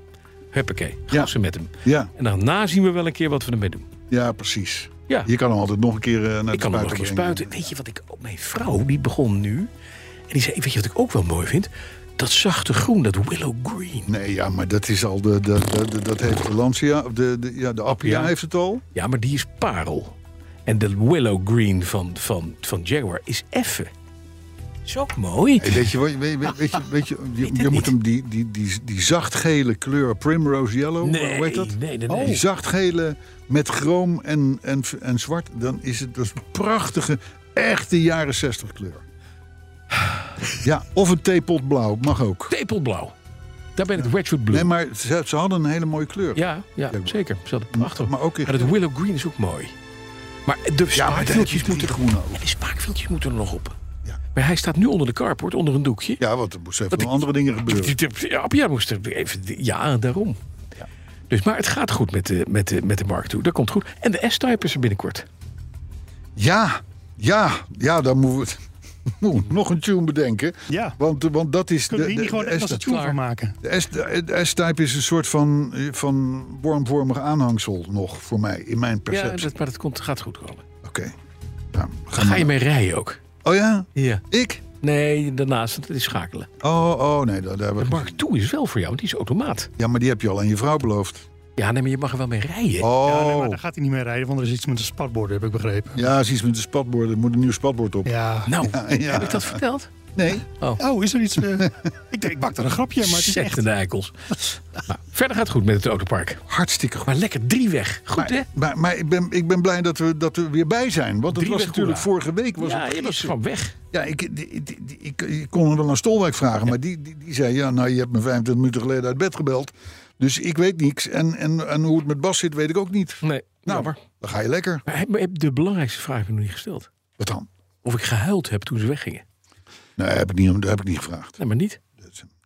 Speaker 5: Huppakee, gassen met hem.
Speaker 4: Ja,
Speaker 5: En daarna zien we wel een keer wat we ermee doen.
Speaker 4: ja, precies.
Speaker 5: Ja,
Speaker 4: Je kan hem altijd nog een keer eh, naar
Speaker 5: ik
Speaker 4: de
Speaker 5: kan hem nog een keer
Speaker 4: brengen.
Speaker 5: spuiten. Weet je wat ik... oh, Mijn vrouw, die begon nu. En die zei, weet je wat ik ook wel mooi vind? Dat zachte groen, dat willow green.
Speaker 4: Nee, ja, maar dat is al de, de, de, de- dat heeft de Lancia, of de, de, ja, de Appia
Speaker 5: Ja.
Speaker 4: heeft het al.
Speaker 5: Ja, maar die is parel. En de willow green van, van, van Jaguar is effen. Is ook mooi.
Speaker 4: Hey, weet je, wat- weet, weet, weet je, weet je, je,
Speaker 5: het
Speaker 4: je
Speaker 5: niet.
Speaker 4: moet hem die, die, die, die zachtgele kleur Primrose Yellow,
Speaker 5: Nee,
Speaker 4: hoe heet dat? Oh.
Speaker 5: nee, nee,
Speaker 4: Die
Speaker 5: nee.
Speaker 4: zachtgele met chroom en, en, en zwart, dan is het dus een prachtige, echte jaren 60 kleur. Ja, of een theepot blauw, mag ook.
Speaker 5: Tepelblauw. Daar ben ik Wedgwood Blue.
Speaker 4: Nee, maar ze, ze hadden een hele mooie kleur.
Speaker 5: ja, ja,
Speaker 4: Ja,
Speaker 5: zeker. Ze hadden prachtig.
Speaker 4: maar ook in-
Speaker 5: maar het Willow Green is ook mooi. Maar de
Speaker 4: ja maar het
Speaker 5: spaakviltjes
Speaker 4: heeft moeten
Speaker 5: moeten...
Speaker 4: groen ook.
Speaker 5: Ja, de spaakviltjes moeten er nog op.
Speaker 4: Ja.
Speaker 5: Maar hij staat nu onder de carport, onder een doekje.
Speaker 4: Ja, want er moest even
Speaker 5: Wat ik-
Speaker 4: nog andere dingen gebeuren.
Speaker 5: Ja, ja, moest er even... Ja, daarom. Dus, maar het gaat goed met de, met de, met de Mark toe. Dat komt goed. En de S-Type is er binnenkort.
Speaker 4: Ja, ja, ja, dan moeten we *laughs* moet nog een tune bedenken.
Speaker 6: Ja.
Speaker 4: Want, eh, want dat is...
Speaker 6: Kunnen we hier niet gewoon
Speaker 4: de,
Speaker 6: echt als
Speaker 4: S-
Speaker 6: een tune
Speaker 5: klaar.
Speaker 6: van maken?
Speaker 4: de S- de- de S-type is een soort van, eh, van wormvormig aanhangsel nog voor mij, in mijn
Speaker 5: Ja,
Speaker 4: perceptie.
Speaker 5: dat, maar dat komt, gaat goed komen.
Speaker 4: Oké. Nou, ga
Speaker 5: Ga
Speaker 4: maar.
Speaker 5: je mee rijden ook?
Speaker 4: Oh ja?
Speaker 5: Ja.
Speaker 4: Ik?
Speaker 5: Nee, daarnaast. Het is schakelen.
Speaker 4: Oh, oh nee, daar, daar
Speaker 5: De
Speaker 4: hebben we...
Speaker 5: Mark II is wel voor jou, want die is automaat.
Speaker 4: Ja, maar die heb je al aan je vrouw beloofd.
Speaker 5: Ja, nee, maar je mag er wel mee rijden.
Speaker 4: Oh.
Speaker 6: Ja,
Speaker 4: Ja,
Speaker 6: nee, maar daar gaat hij niet meer rijden, want er is iets met een spatbord, heb ik begrepen.
Speaker 4: is iets met de spatborden. Er moet een nieuw spatbord op.
Speaker 6: Ja.
Speaker 5: Nou,
Speaker 4: ja.
Speaker 5: heb ik dat verteld?
Speaker 4: Nee?
Speaker 6: Oh, is er iets... *laughs* eh, ik denk, ik maak daar een grapje, maar het is echt...
Speaker 5: de eikels. Nou, verder gaat het goed met het autopark.
Speaker 4: Hartstikke goed.
Speaker 5: Maar lekker drieweg. Goed, hè?
Speaker 4: Maar, maar, maar ik, ben, ik ben blij dat we, dat we weer bij zijn. Want het
Speaker 5: Drie
Speaker 4: was
Speaker 5: weg,
Speaker 4: natuurlijk
Speaker 5: hoera.
Speaker 4: vorige week. Was
Speaker 5: ja,
Speaker 4: het
Speaker 5: je was
Speaker 4: gisteren.
Speaker 5: gewoon weg.
Speaker 4: Ja, ik, ik, ik, ik, ik kon wel naar Stolwijk vragen, maar die, die, die zei: Ja, nou, je hebt me 25 minuten geleden uit bed gebeld. Dus ik weet niks. En, en, en hoe het met Bas zit, weet ik ook niet.
Speaker 5: Nee,
Speaker 4: Nou,
Speaker 5: jammer.
Speaker 4: dan ga je lekker.
Speaker 5: Maar hij- maar hij- de belangrijkste vraag heb ik nog niet gesteld.
Speaker 4: Wat dan?
Speaker 5: Of ik gehuild heb toen ze weggingen.
Speaker 4: Nee, heb ik niet, dat heb ik niet gevraagd.
Speaker 5: Nee, maar niet.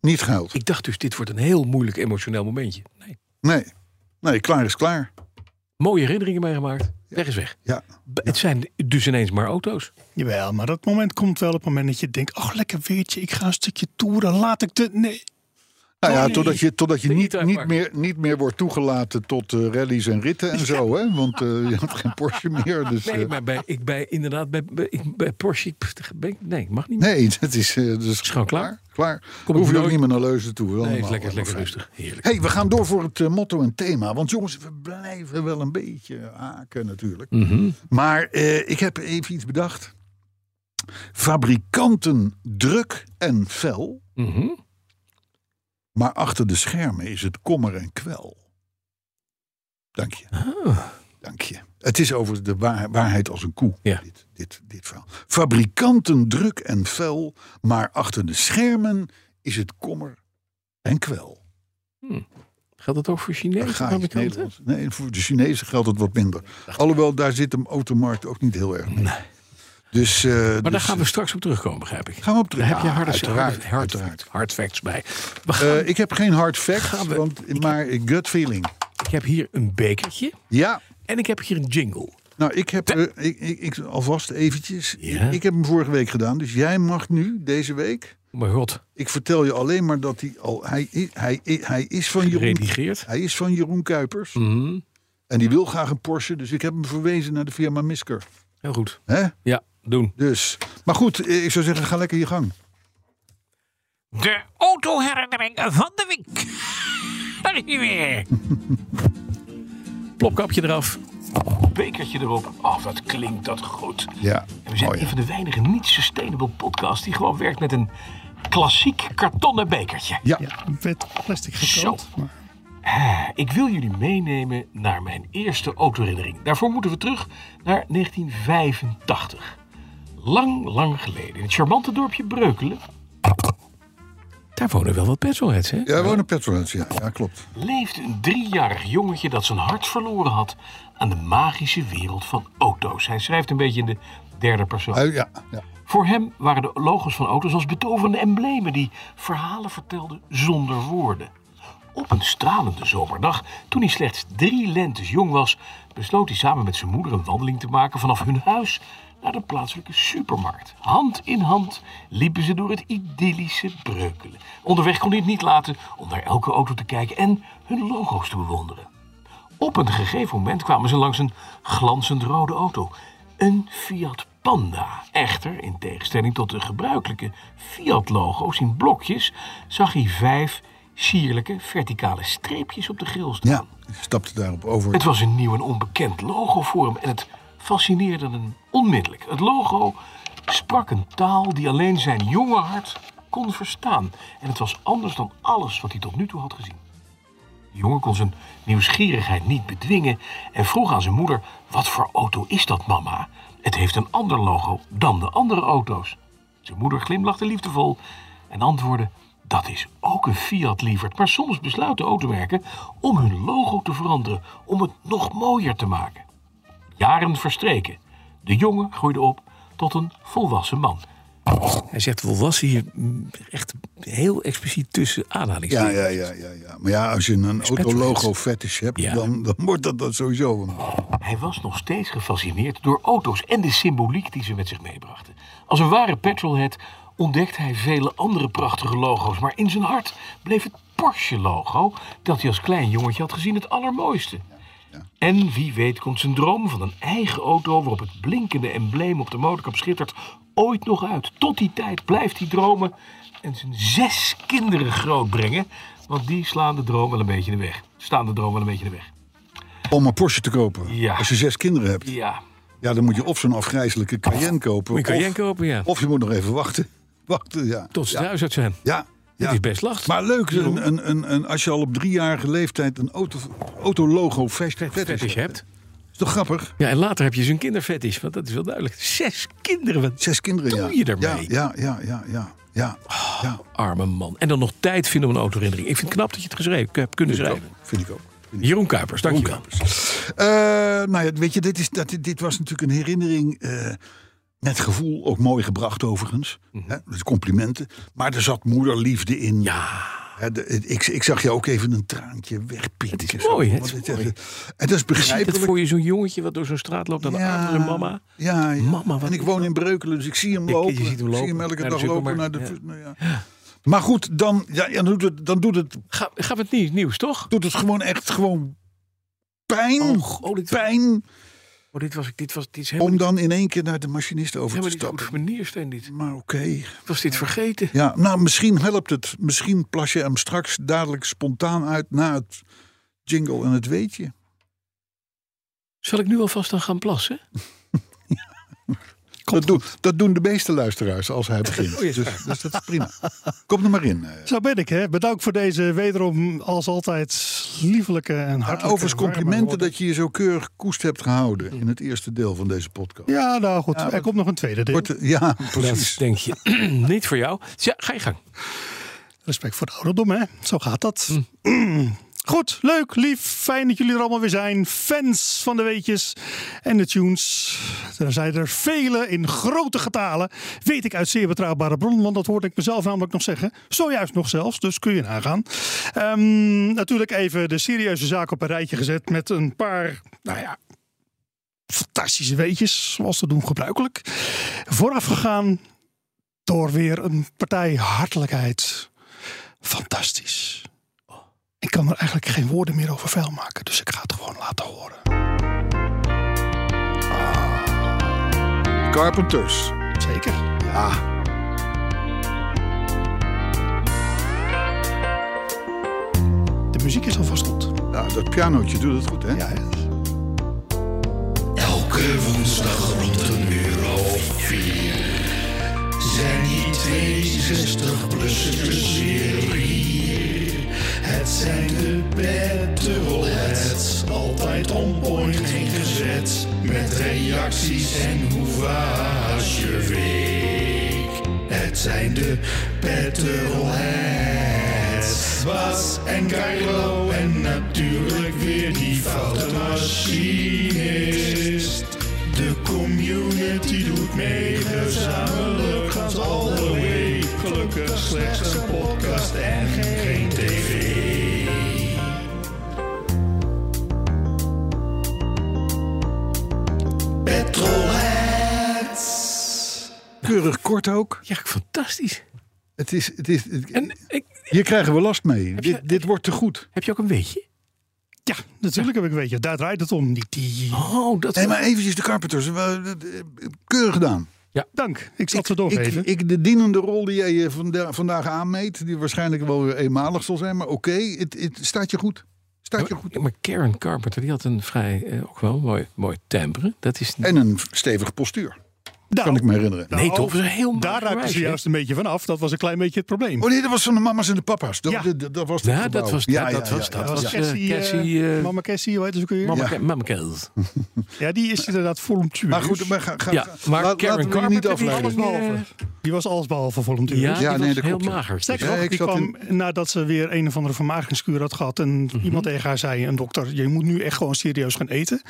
Speaker 4: Niet gehuild.
Speaker 5: Ik dacht dus, dit wordt een heel moeilijk emotioneel momentje. Nee.
Speaker 4: Nee. Nee, klaar is klaar.
Speaker 5: Mooie herinneringen meegemaakt. Weg is weg.
Speaker 4: Ja.
Speaker 5: B- Het zijn dus ineens maar auto's.
Speaker 6: Jawel, maar dat moment komt wel op het moment dat je denkt... Oh, lekker weertje, ik ga een stukje toeren, laat ik de... Nee,
Speaker 4: Nou ja,
Speaker 5: nee.
Speaker 4: totdat je, totdat je
Speaker 5: De
Speaker 4: niet,
Speaker 5: e-type
Speaker 4: niet,
Speaker 5: maar.
Speaker 4: meer, niet meer wordt toegelaten tot eh, rallies en ritten en zo, hè? Want eh, je had geen Porsche
Speaker 5: *laughs*
Speaker 4: meer. Dus, eh,
Speaker 5: Nee, maar bij, ik bij, inderdaad, bij, bij, ik- bij Porsche, ik- ben ik- nee, mag niet.
Speaker 4: nee, dat is, eh, dat is
Speaker 5: Is gewoon klaar.
Speaker 4: Klaar.
Speaker 5: Kom
Speaker 4: Hoef
Speaker 5: ik
Speaker 4: je ook
Speaker 5: nooit-
Speaker 4: niet meer naar Leuzen toe. Allemaal,
Speaker 5: Nee, is lekker, is
Speaker 4: allemaal
Speaker 5: lekker
Speaker 4: fijn.
Speaker 5: rustig. Heerlijk.
Speaker 4: Hey, we gaan door voor het eh, motto en thema. Want jongens, we blijven wel een beetje haken natuurlijk.
Speaker 5: Mhm.
Speaker 4: Maar eh, ik heb even iets bedacht. Fabrikanten druk en fel,
Speaker 5: Mhm.
Speaker 4: maar achter de schermen is het kommer en kwel. Dank je,
Speaker 5: Ah.
Speaker 4: dank je. Het is over de waar- waarheid als een koe,
Speaker 5: Ja.
Speaker 4: dit, dit, dit verhaal. Fabrikanten druk en fel, maar achter de schermen is het kommer en kwel.
Speaker 5: Geldt dat ook voor
Speaker 4: Daar
Speaker 5: Chinese
Speaker 4: ga je,
Speaker 5: fabrikanten?
Speaker 4: Nederlands. Nee, voor de Chinezen geldt het wat minder. Alhoewel, daar zit de automarkt ook niet heel erg mee. Dus, eh,
Speaker 5: Maar daar
Speaker 4: dus-
Speaker 5: gaan we straks op terugkomen, begrijp ik.
Speaker 4: Gaan we op terug.
Speaker 5: Daar heb je
Speaker 4: Ja,
Speaker 5: harde,
Speaker 4: uiteraard,
Speaker 5: harde, hard,
Speaker 4: uiteraard.
Speaker 5: hard facts bij. We gaan,
Speaker 4: Eh, ik heb geen hard facts,
Speaker 5: Gaan we-
Speaker 4: want, maar gut feeling.
Speaker 5: ik heb hier een bekertje
Speaker 4: Ja,
Speaker 5: en ik heb hier een jingle.
Speaker 4: nou ik heb eh, ik, ik, ik, alvast eventjes.
Speaker 5: Ja.
Speaker 4: Ik, ik heb hem vorige week gedaan, dus jij mag nu deze week.
Speaker 5: Maar god,
Speaker 4: Ik vertel je alleen maar dat hij al hij, i- hij, i- hij is van Jeroen.
Speaker 5: geredigeerd.
Speaker 4: Hij is van Jeroen Kuipers
Speaker 5: Mhm.
Speaker 4: en die wil graag een Porsche, dus ik heb hem verwezen naar de firma Misker.
Speaker 5: Heel goed.
Speaker 4: Hè?
Speaker 5: Ja, doen.
Speaker 4: Dus, maar goed, eh, ik zou zeggen, ga lekker je gang.
Speaker 7: De autoherinnering van de week. Daar is hij weer.
Speaker 5: *laughs* Plopkapje eraf. Bekertje erop. Oh, wat klinkt dat goed.
Speaker 4: Ja,
Speaker 5: En we zijn
Speaker 4: mooi, hè?
Speaker 5: een van de weinige niet-sustainable podcasts die gewoon werkt met een klassiek kartonnen bekertje.
Speaker 4: Ja,
Speaker 6: ja, werd plastic
Speaker 5: Zo.
Speaker 6: gekookt. Maar
Speaker 5: Eh, Ik wil jullie meenemen naar mijn eerste autoherinnering. Daarvoor moeten we terug naar 1985. Lang, lang geleden. In het charmante dorpje Breukelen. Daar wonen wel wat petrolheads, hè?
Speaker 4: Ja, we wonen petrolheads, ja. ja, klopt.
Speaker 5: Leefde een driejarig jongetje dat zijn hart verloren had aan de magische wereld van auto's. Hij schrijft een beetje in de derde persoon.
Speaker 4: Ui, Oh, ja, ja.
Speaker 5: Voor hem waren de logos van auto's als betoverende emblemen die verhalen vertelden zonder woorden. Op een stralende zomerdag, toen hij slechts drie lentes jong was, besloot hij samen met zijn moeder een wandeling te maken vanaf hun huis naar de plaatselijke supermarkt. Hand in hand liepen ze door het idyllische Breukelen. Onderweg kon hij het niet laten om naar elke auto te kijken en hun logo's te bewonderen. Op een gegeven moment kwamen ze langs een glanzend rode auto. Een Fiat Panda. Echter, in tegenstelling tot de gebruikelijke Fiat-logo's in blokjes, zag hij vijf sierlijke verticale streepjes op de grill staan.
Speaker 4: Ja, ik stapte daarop over.
Speaker 5: Het was een nieuw en onbekend logo voor hem en het fascineerde hem onmiddellijk. Het logo sprak een taal die alleen zijn jonge hart kon verstaan. En het was anders dan alles wat hij tot nu toe had gezien. De jongen kon zijn nieuwsgierigheid niet bedwingen en vroeg aan zijn moeder: Wat voor auto is dat, mama? Het heeft een ander logo dan de andere auto's. Zijn moeder glimlachte liefdevol en antwoordde: Dat is ook een Fiat, lieverd. Maar soms besluiten automerken om hun logo te veranderen, om het nog mooier te maken. Jaren verstreken. De jongen groeide op tot een volwassen man. Hij zegt volwassen hier mm, echt heel expliciet tussen
Speaker 4: Ja,
Speaker 5: aanhalingstekens.
Speaker 4: ja, ja, ja, ja. Maar ja, als je een autologo fetish hebt,
Speaker 5: Ja.
Speaker 4: dan, dan wordt dat, dat sowieso. een-
Speaker 5: Hij was nog steeds gefascineerd door auto's en de symboliek die ze met zich meebrachten. Als een ware petrolhead ontdekte hij vele andere prachtige logo's, maar in zijn hart bleef het Porsche-logo dat hij als klein jongetje had gezien het allermooiste. En wie weet komt zijn droom van een eigen auto waarop het blinkende embleem op de motorkap schittert ooit nog uit. Tot die tijd blijft hij dromen en zijn zes kinderen grootbrengen, want die slaan de droom wel een beetje in de weg. Staan de droom wel een beetje in de weg.
Speaker 4: Om een Porsche te kopen.
Speaker 5: Ja.
Speaker 4: Als je zes kinderen hebt,
Speaker 5: Ja.
Speaker 4: ja, dan moet je of zo'n afgrijzelijke Cayenne kopen.
Speaker 5: Moet je Cayenne
Speaker 4: of,
Speaker 5: kopen, ja.
Speaker 4: Of je moet nog even wachten. *laughs* Wachten, ja.
Speaker 5: Tot ze
Speaker 4: ja.
Speaker 5: thuis uit zijn.
Speaker 4: Ja.
Speaker 5: Het
Speaker 4: ja.
Speaker 5: is best lastig.
Speaker 4: Maar leuk, een, een, een, een- als je al op driejarige leeftijd een auto, autologo fest- fetish,
Speaker 5: fetish hebt.
Speaker 4: Is toch grappig?
Speaker 5: Ja, en later heb je zo'n kinderfetish, want dat is wel duidelijk. Zes kinderen, wat
Speaker 4: Zes kinderen,
Speaker 5: Doe
Speaker 4: ja.
Speaker 5: je ermee? Oh.
Speaker 4: Ja, ja, ja, ja, ja. ja. ja.
Speaker 5: arme man. En dan nog tijd vinden om een autoherinnering. Ik vind het knap dat je het geschreven hebt kunnen schrijven.
Speaker 4: Vind ik ook.
Speaker 5: Jeroen Kuipers, dank je wel.
Speaker 4: Eh, nou ja, weet je, dit, is, dat, dit was natuurlijk een herinnering eh, met gevoel. Ook mooi gebracht overigens. Hè, met complimenten. Maar er zat moederliefde in.
Speaker 5: Mhm. Ja,
Speaker 4: Hè, de- ik, ik zag je ook even een traantje wegpinken.
Speaker 5: Het is
Speaker 4: zo.
Speaker 5: mooi, hè?
Speaker 4: Want
Speaker 5: Het is
Speaker 4: het-
Speaker 5: mooi.
Speaker 4: En dat is
Speaker 5: zie
Speaker 4: begrijpelijk.
Speaker 5: dat voor je zo'n jongetje wat door zo'n straat loopt aan de arm van zijn mama.
Speaker 4: Ja, ja.
Speaker 5: Mama, wat
Speaker 4: en ik
Speaker 5: is
Speaker 4: woon in Breukelen, dus ik zie hem
Speaker 5: Je-
Speaker 4: lopen.
Speaker 5: je ziet hem
Speaker 4: Ik
Speaker 5: lopen.
Speaker 4: zie hem elke
Speaker 5: Naar de
Speaker 4: dag lopen naar de...
Speaker 5: supermarkt,
Speaker 4: nou ja. Maar goed, dan, ja, ja, dan, doet het, dan doet, het,
Speaker 5: Ga, gaan we het nieuws, nieuws toch?
Speaker 4: doet het gewoon echt gewoon pijn.
Speaker 5: Oh, oh, dit-
Speaker 4: pijn
Speaker 5: Oh, dit, was, dit, was, dit is helemaal
Speaker 4: om dan in één keer naar de machinist
Speaker 5: niet,
Speaker 4: over te
Speaker 5: helemaal niet goed
Speaker 4: stappen.
Speaker 5: voor meneer Steen dit.
Speaker 4: Maar oké.
Speaker 5: Was dit vergeten?
Speaker 4: Ja, nou, misschien helpt het. Misschien plas je hem straks dadelijk spontaan uit na het jingle en het weetje.
Speaker 5: Zal ik nu alvast dan gaan plassen?
Speaker 4: Dat, doen- dat doen de meeste luisteraars als
Speaker 5: *laughs*
Speaker 4: hij begint.
Speaker 5: Oh, ja, is waar.
Speaker 4: dus, dus dat is prima. Kom er maar in. eh.
Speaker 6: Zo ben ik, hè. Bedankt voor deze wederom, als altijd, liefelijke en
Speaker 5: eh,
Speaker 6: hartelijke...
Speaker 4: Overigens
Speaker 6: warme
Speaker 4: complimenten
Speaker 6: woorden.
Speaker 4: dat je je zo keurig koest hebt gehouden in het eerste deel van deze podcast.
Speaker 6: Ja, nou goed,
Speaker 4: Ja,
Speaker 6: er
Speaker 4: dat-
Speaker 6: komt nog een tweede deel.
Speaker 4: Wordt- ja,
Speaker 5: Dat
Speaker 4: precies.
Speaker 5: denk je. *clears throat* niet voor jou. Ja, ga je gang.
Speaker 6: Respect voor de ouderdom, hè? Zo gaat dat. Mm. *clears throat* Goed, leuk, lief. Fijn dat jullie er allemaal weer zijn. Fans van de weetjes en de tunes. Er zijn er vele in grote getalen. Weet ik uit zeer betrouwbare bron, want dat hoorde ik mezelf namelijk nog zeggen. Zojuist nog zelfs, dus kun je nagaan. Ehm, natuurlijk even de serieuze zaak op een rijtje gezet met een paar, nou ja, fantastische weetjes, zoals te doen gebruikelijk. Voorafgegaan door weer een partij hartelijkheid fantastisch. Ik kan er eigenlijk geen woorden meer over vuil maken, dus ik ga het gewoon laten horen.
Speaker 4: Carpenters.
Speaker 6: Zeker.
Speaker 4: Ja,
Speaker 6: De muziek is alvast goed.
Speaker 4: ja, dat pianootje doet het goed, hè?
Speaker 6: Ja, hè?
Speaker 8: Elke woensdag rond een uur of vier zijn die 62 plussers weer hier. Het zijn de petrolheads, altijd on point, geen gezet. Met reacties en hoeva's je week. Het Het zijn de Petrolheads. Bas en Carlo en natuurlijk weer die foute machinist. De community doet mee, gezamenlijk gaan ze alle week. Gelukkig slechts een podcast en geen tv. Petrolheads.
Speaker 4: Keurig kort ook.
Speaker 5: Ja, fantastisch.
Speaker 4: Het is, het is, het-
Speaker 5: En ik,
Speaker 4: hier krijgen we last mee.
Speaker 5: je-
Speaker 4: dit dit wordt te goed.
Speaker 5: heb je ook een weetje?
Speaker 6: Ja, natuurlijk heb ik een beetje. Daar draait het om. Die, die.
Speaker 5: Oh, dat
Speaker 4: Nee, maar eventjes de Carpenters. We- we- Keurig gedaan.
Speaker 6: Dank. Ik zal het ze
Speaker 4: Ik,
Speaker 6: doorgeven.
Speaker 4: ik, de dienende rol die jij eh, vanda- vandaag aanmeet, die waarschijnlijk wel weer eenmalig zal zijn, maar oké, het, het staat je goed. Staat je goed.
Speaker 5: Ja, maar Karen Carpenter, die had een vrij, eh, ook wel mooi, mooi timbre. Dat is
Speaker 4: En een stevig postuur,
Speaker 6: Nou,
Speaker 4: kan ik me herinneren.
Speaker 5: Nee,
Speaker 6: nou,
Speaker 5: toch? Dat is een heel mooi
Speaker 6: Daar raakten ze
Speaker 5: meisje,
Speaker 6: juist een beetje van af. Dat was een klein beetje het probleem.
Speaker 4: Oh nee, dat was van de mama's en de papa's. Dat,
Speaker 6: Ja.
Speaker 4: dat, dat, dat was het
Speaker 5: Ja,
Speaker 4: gebouw.
Speaker 5: dat was,
Speaker 4: Ja,
Speaker 5: dat,
Speaker 4: ja,
Speaker 5: dat
Speaker 4: ja,
Speaker 5: was,
Speaker 4: ja,
Speaker 5: dat
Speaker 4: ja.
Speaker 5: was
Speaker 4: Ja.
Speaker 5: eh,
Speaker 6: Cassie, eh,
Speaker 5: Cassie, eh,
Speaker 6: Mama Cassie, hoe heet ze ook weer?
Speaker 5: Mama
Speaker 4: Ja.
Speaker 5: Ca- Mama Kel.
Speaker 6: Ja, die is inderdaad volumtuur.
Speaker 4: Maar goed, maar ga, ga,
Speaker 5: Ja,
Speaker 4: ga-
Speaker 5: maar
Speaker 4: laat-
Speaker 5: Karen
Speaker 4: laten we je niet
Speaker 5: Carpenter, die
Speaker 4: afleiden.
Speaker 5: ging, eh,
Speaker 6: Die was allesbehalve volumtuur.
Speaker 5: Ja, die
Speaker 4: Ja, nee,
Speaker 5: was
Speaker 4: dat
Speaker 5: heel
Speaker 4: klopt, ja.
Speaker 5: mager.
Speaker 6: Sterker
Speaker 4: Ja,
Speaker 6: nog,
Speaker 4: ik
Speaker 6: die
Speaker 4: zat
Speaker 6: kwam nadat ze weer een of andere vermagingskuur had gehad. En
Speaker 4: Mhm.
Speaker 6: iemand tegen haar zei, een dokter, je moet nu echt gewoon serieus gaan eten.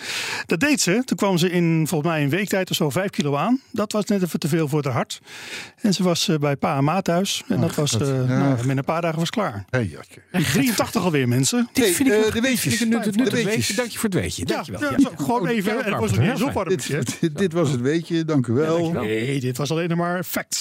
Speaker 6: Dat deed ze. Toen kwam ze in volgens mij een week tijd of zo vijf kilo aan. Dat was net even te veel voor haar hart. En ze was eh, bij pa en ma thuis. En dat was, eh, nou, binnen een paar dagen was
Speaker 4: *laughs*
Speaker 6: klaar.
Speaker 4: Hey, Jatje.
Speaker 6: 83 alweer mensen.
Speaker 5: Dit
Speaker 4: Nee,
Speaker 5: vind ik
Speaker 4: eh,
Speaker 5: wel-
Speaker 4: de
Speaker 5: dit
Speaker 4: weetjes.
Speaker 5: vind ik een nuttig-
Speaker 4: De
Speaker 5: nuttig
Speaker 4: weetjes.
Speaker 5: weetje. Dank je voor het weetje. Dank je wel.
Speaker 6: ja,
Speaker 5: Ja.
Speaker 6: zo,
Speaker 4: Oh,
Speaker 6: gewoon even.
Speaker 5: Karen
Speaker 6: Het was
Speaker 5: Carpenter,
Speaker 6: nog niet
Speaker 5: heel
Speaker 6: zo warm.
Speaker 4: Dit, dit, dit was het weetje, dank u wel.
Speaker 6: Nee, dit was alleen maar facts.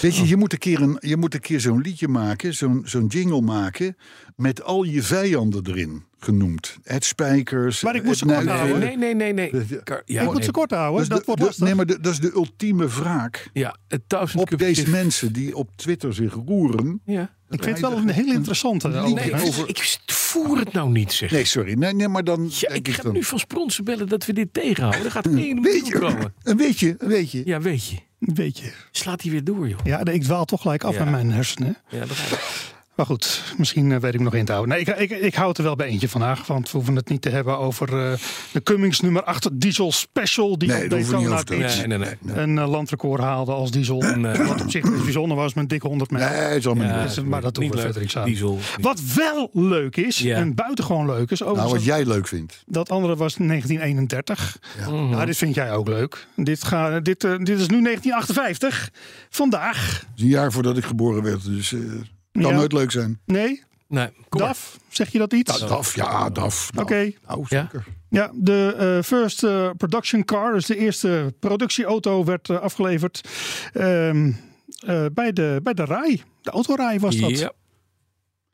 Speaker 4: Weet je, je moet een keer, een, je moet een keer zo'n liedje maken, zo'n zo'n jingle maken, met al je vijanden erin genoemd. Het spijkers.
Speaker 6: Maar ik moest
Speaker 4: het
Speaker 6: ze kort
Speaker 4: Nuitelen.
Speaker 6: houden.
Speaker 5: Nee, nee, nee, nee.
Speaker 4: Ja.
Speaker 5: Car- Ja,
Speaker 6: ik moet
Speaker 5: nee.
Speaker 6: ze kort houden,
Speaker 4: Dat is
Speaker 6: dat
Speaker 4: Dus de-
Speaker 6: wordt
Speaker 4: de-
Speaker 6: lastig.
Speaker 4: Nee, maar de- dat is de ultieme wraak
Speaker 5: Ja, het duizend
Speaker 4: op
Speaker 5: kuub
Speaker 4: deze
Speaker 5: stift.
Speaker 4: mensen die op Twitter zich roeren.
Speaker 5: Ja.
Speaker 6: ik vind het wel een heel interessante.
Speaker 5: Nee,
Speaker 6: overigens.
Speaker 5: ik, ik voer het nou niet, zeg.
Speaker 4: Nee, sorry. Nee, nee maar dan.
Speaker 5: Ja,
Speaker 4: denk
Speaker 5: ik ga
Speaker 4: dan-
Speaker 5: nu van spronsen bellen dat we dit tegenhouden. Er gaat één
Speaker 4: *laughs* Weet
Speaker 5: miljoen
Speaker 4: je,
Speaker 5: komen.
Speaker 4: een beetje, een beetje.
Speaker 5: Ja, weet je.
Speaker 6: Weet je.
Speaker 5: Slaat hij weer door, joh.
Speaker 6: Ja, nee, ik dwaal toch gelijk af
Speaker 5: Ja.
Speaker 6: met mijn hersenen.
Speaker 5: Ja, begrijp ik.
Speaker 6: Maar goed, misschien eh, weet ik me nog in te houden. Nee, ik, ik, ik hou het er wel bij eentje vandaag. Want we hoeven het niet te hebben over eh, de Cummings nummer 8 Diesel Special. Die
Speaker 4: Nee,
Speaker 6: op
Speaker 4: daar hoeven we niet
Speaker 6: Daytona
Speaker 4: over te hebben.
Speaker 6: Beach
Speaker 5: Nee, nee, nee.
Speaker 6: een eh, landrecord haalde als Diesel. Eh,
Speaker 5: Nee.
Speaker 6: Wat op zich best bijzonder was met dik 100 mijl.
Speaker 4: Nee, is allemaal niet.
Speaker 6: Dus, maar dat doen
Speaker 5: niet
Speaker 6: we
Speaker 5: leuk.
Speaker 6: verder niks aan.
Speaker 5: Diesel.
Speaker 6: Wat wel leuk is,
Speaker 5: Ja.
Speaker 6: en buitengewoon leuk is...
Speaker 4: Nou,
Speaker 6: overigens
Speaker 4: wat jij leuk vindt.
Speaker 6: dat andere was 1931.
Speaker 5: Mhm.
Speaker 6: Nou, dit vind jij ook leuk. Dit, ga, dit, eh, dit is nu 1958. Vandaag.
Speaker 4: Het is een jaar voordat ik geboren werd, dus eh kan
Speaker 6: Ja.
Speaker 4: nooit leuk zijn.
Speaker 6: Nee,
Speaker 5: Nee, kom maar.
Speaker 6: DAF. Zeg je dat iets?
Speaker 4: Nou, DAF, ja, DAF.
Speaker 6: Oké.
Speaker 4: Nou, nou,
Speaker 5: Ja?
Speaker 4: zeker.
Speaker 6: Ja, de eh, first eh, production car, dus de eerste productieauto, werd eh, afgeleverd ehm, eh, bij, de, bij de RAI. De autorij was dat.
Speaker 5: Ja.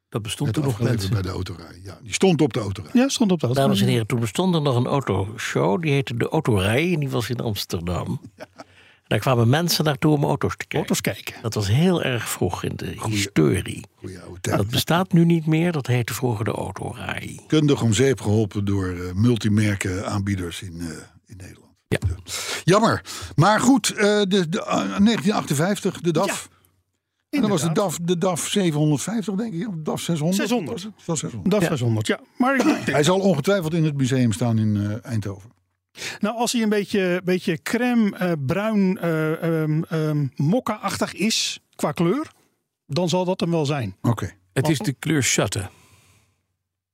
Speaker 5: Dat bestond
Speaker 4: Werd
Speaker 5: toen nog
Speaker 4: afgeleverd
Speaker 5: mensen.
Speaker 4: bij de autorij. Ja, die stond op de autorij.
Speaker 6: Ja, stond op de auto.
Speaker 9: Dames en heren, toen bestond er nog een autoshow. Die heette de Autorij en die was in Amsterdam. En daar kwamen mensen naartoe om auto's te kijken.
Speaker 6: Auto's kijken.
Speaker 9: Dat was heel erg vroeg in de historie.
Speaker 4: Goeie oude
Speaker 9: Dat
Speaker 4: tijd.
Speaker 9: bestaat nu niet meer. Dat heette vroeger de Autorij.
Speaker 4: Kundig om zeep geholpen door eh, multimerken aanbieders in, eh, in Nederland. Ja. Jammer. Maar goed, eh, de, de, ah, 1958, de DAF. En dan was de DAF, de DAF 750, denk ik. Of DAF 600.
Speaker 6: 600.
Speaker 4: Was het? Het was 600.
Speaker 6: DAF 600, ja. Maar ik denk-
Speaker 4: Hij zal ongetwijfeld in het museum staan in eh, Eindhoven.
Speaker 6: nou, als hij een beetje, beetje crème, eh, bruin, eh ehm, ehm, mokka-achtig is qua kleur, dan zal dat hem wel zijn.
Speaker 4: Oké.
Speaker 5: Het is de kleur shatter.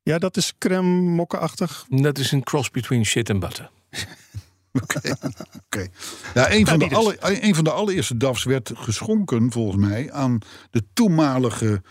Speaker 6: Ja, dat is crème, mokka-achtig.
Speaker 5: Dat is een cross between shit en butter.
Speaker 4: Oké. Ja, een, van
Speaker 6: die
Speaker 4: de
Speaker 6: dus.
Speaker 4: alle, eh, een van de allereerste DAF's werd geschonken, volgens mij, aan de toenmalige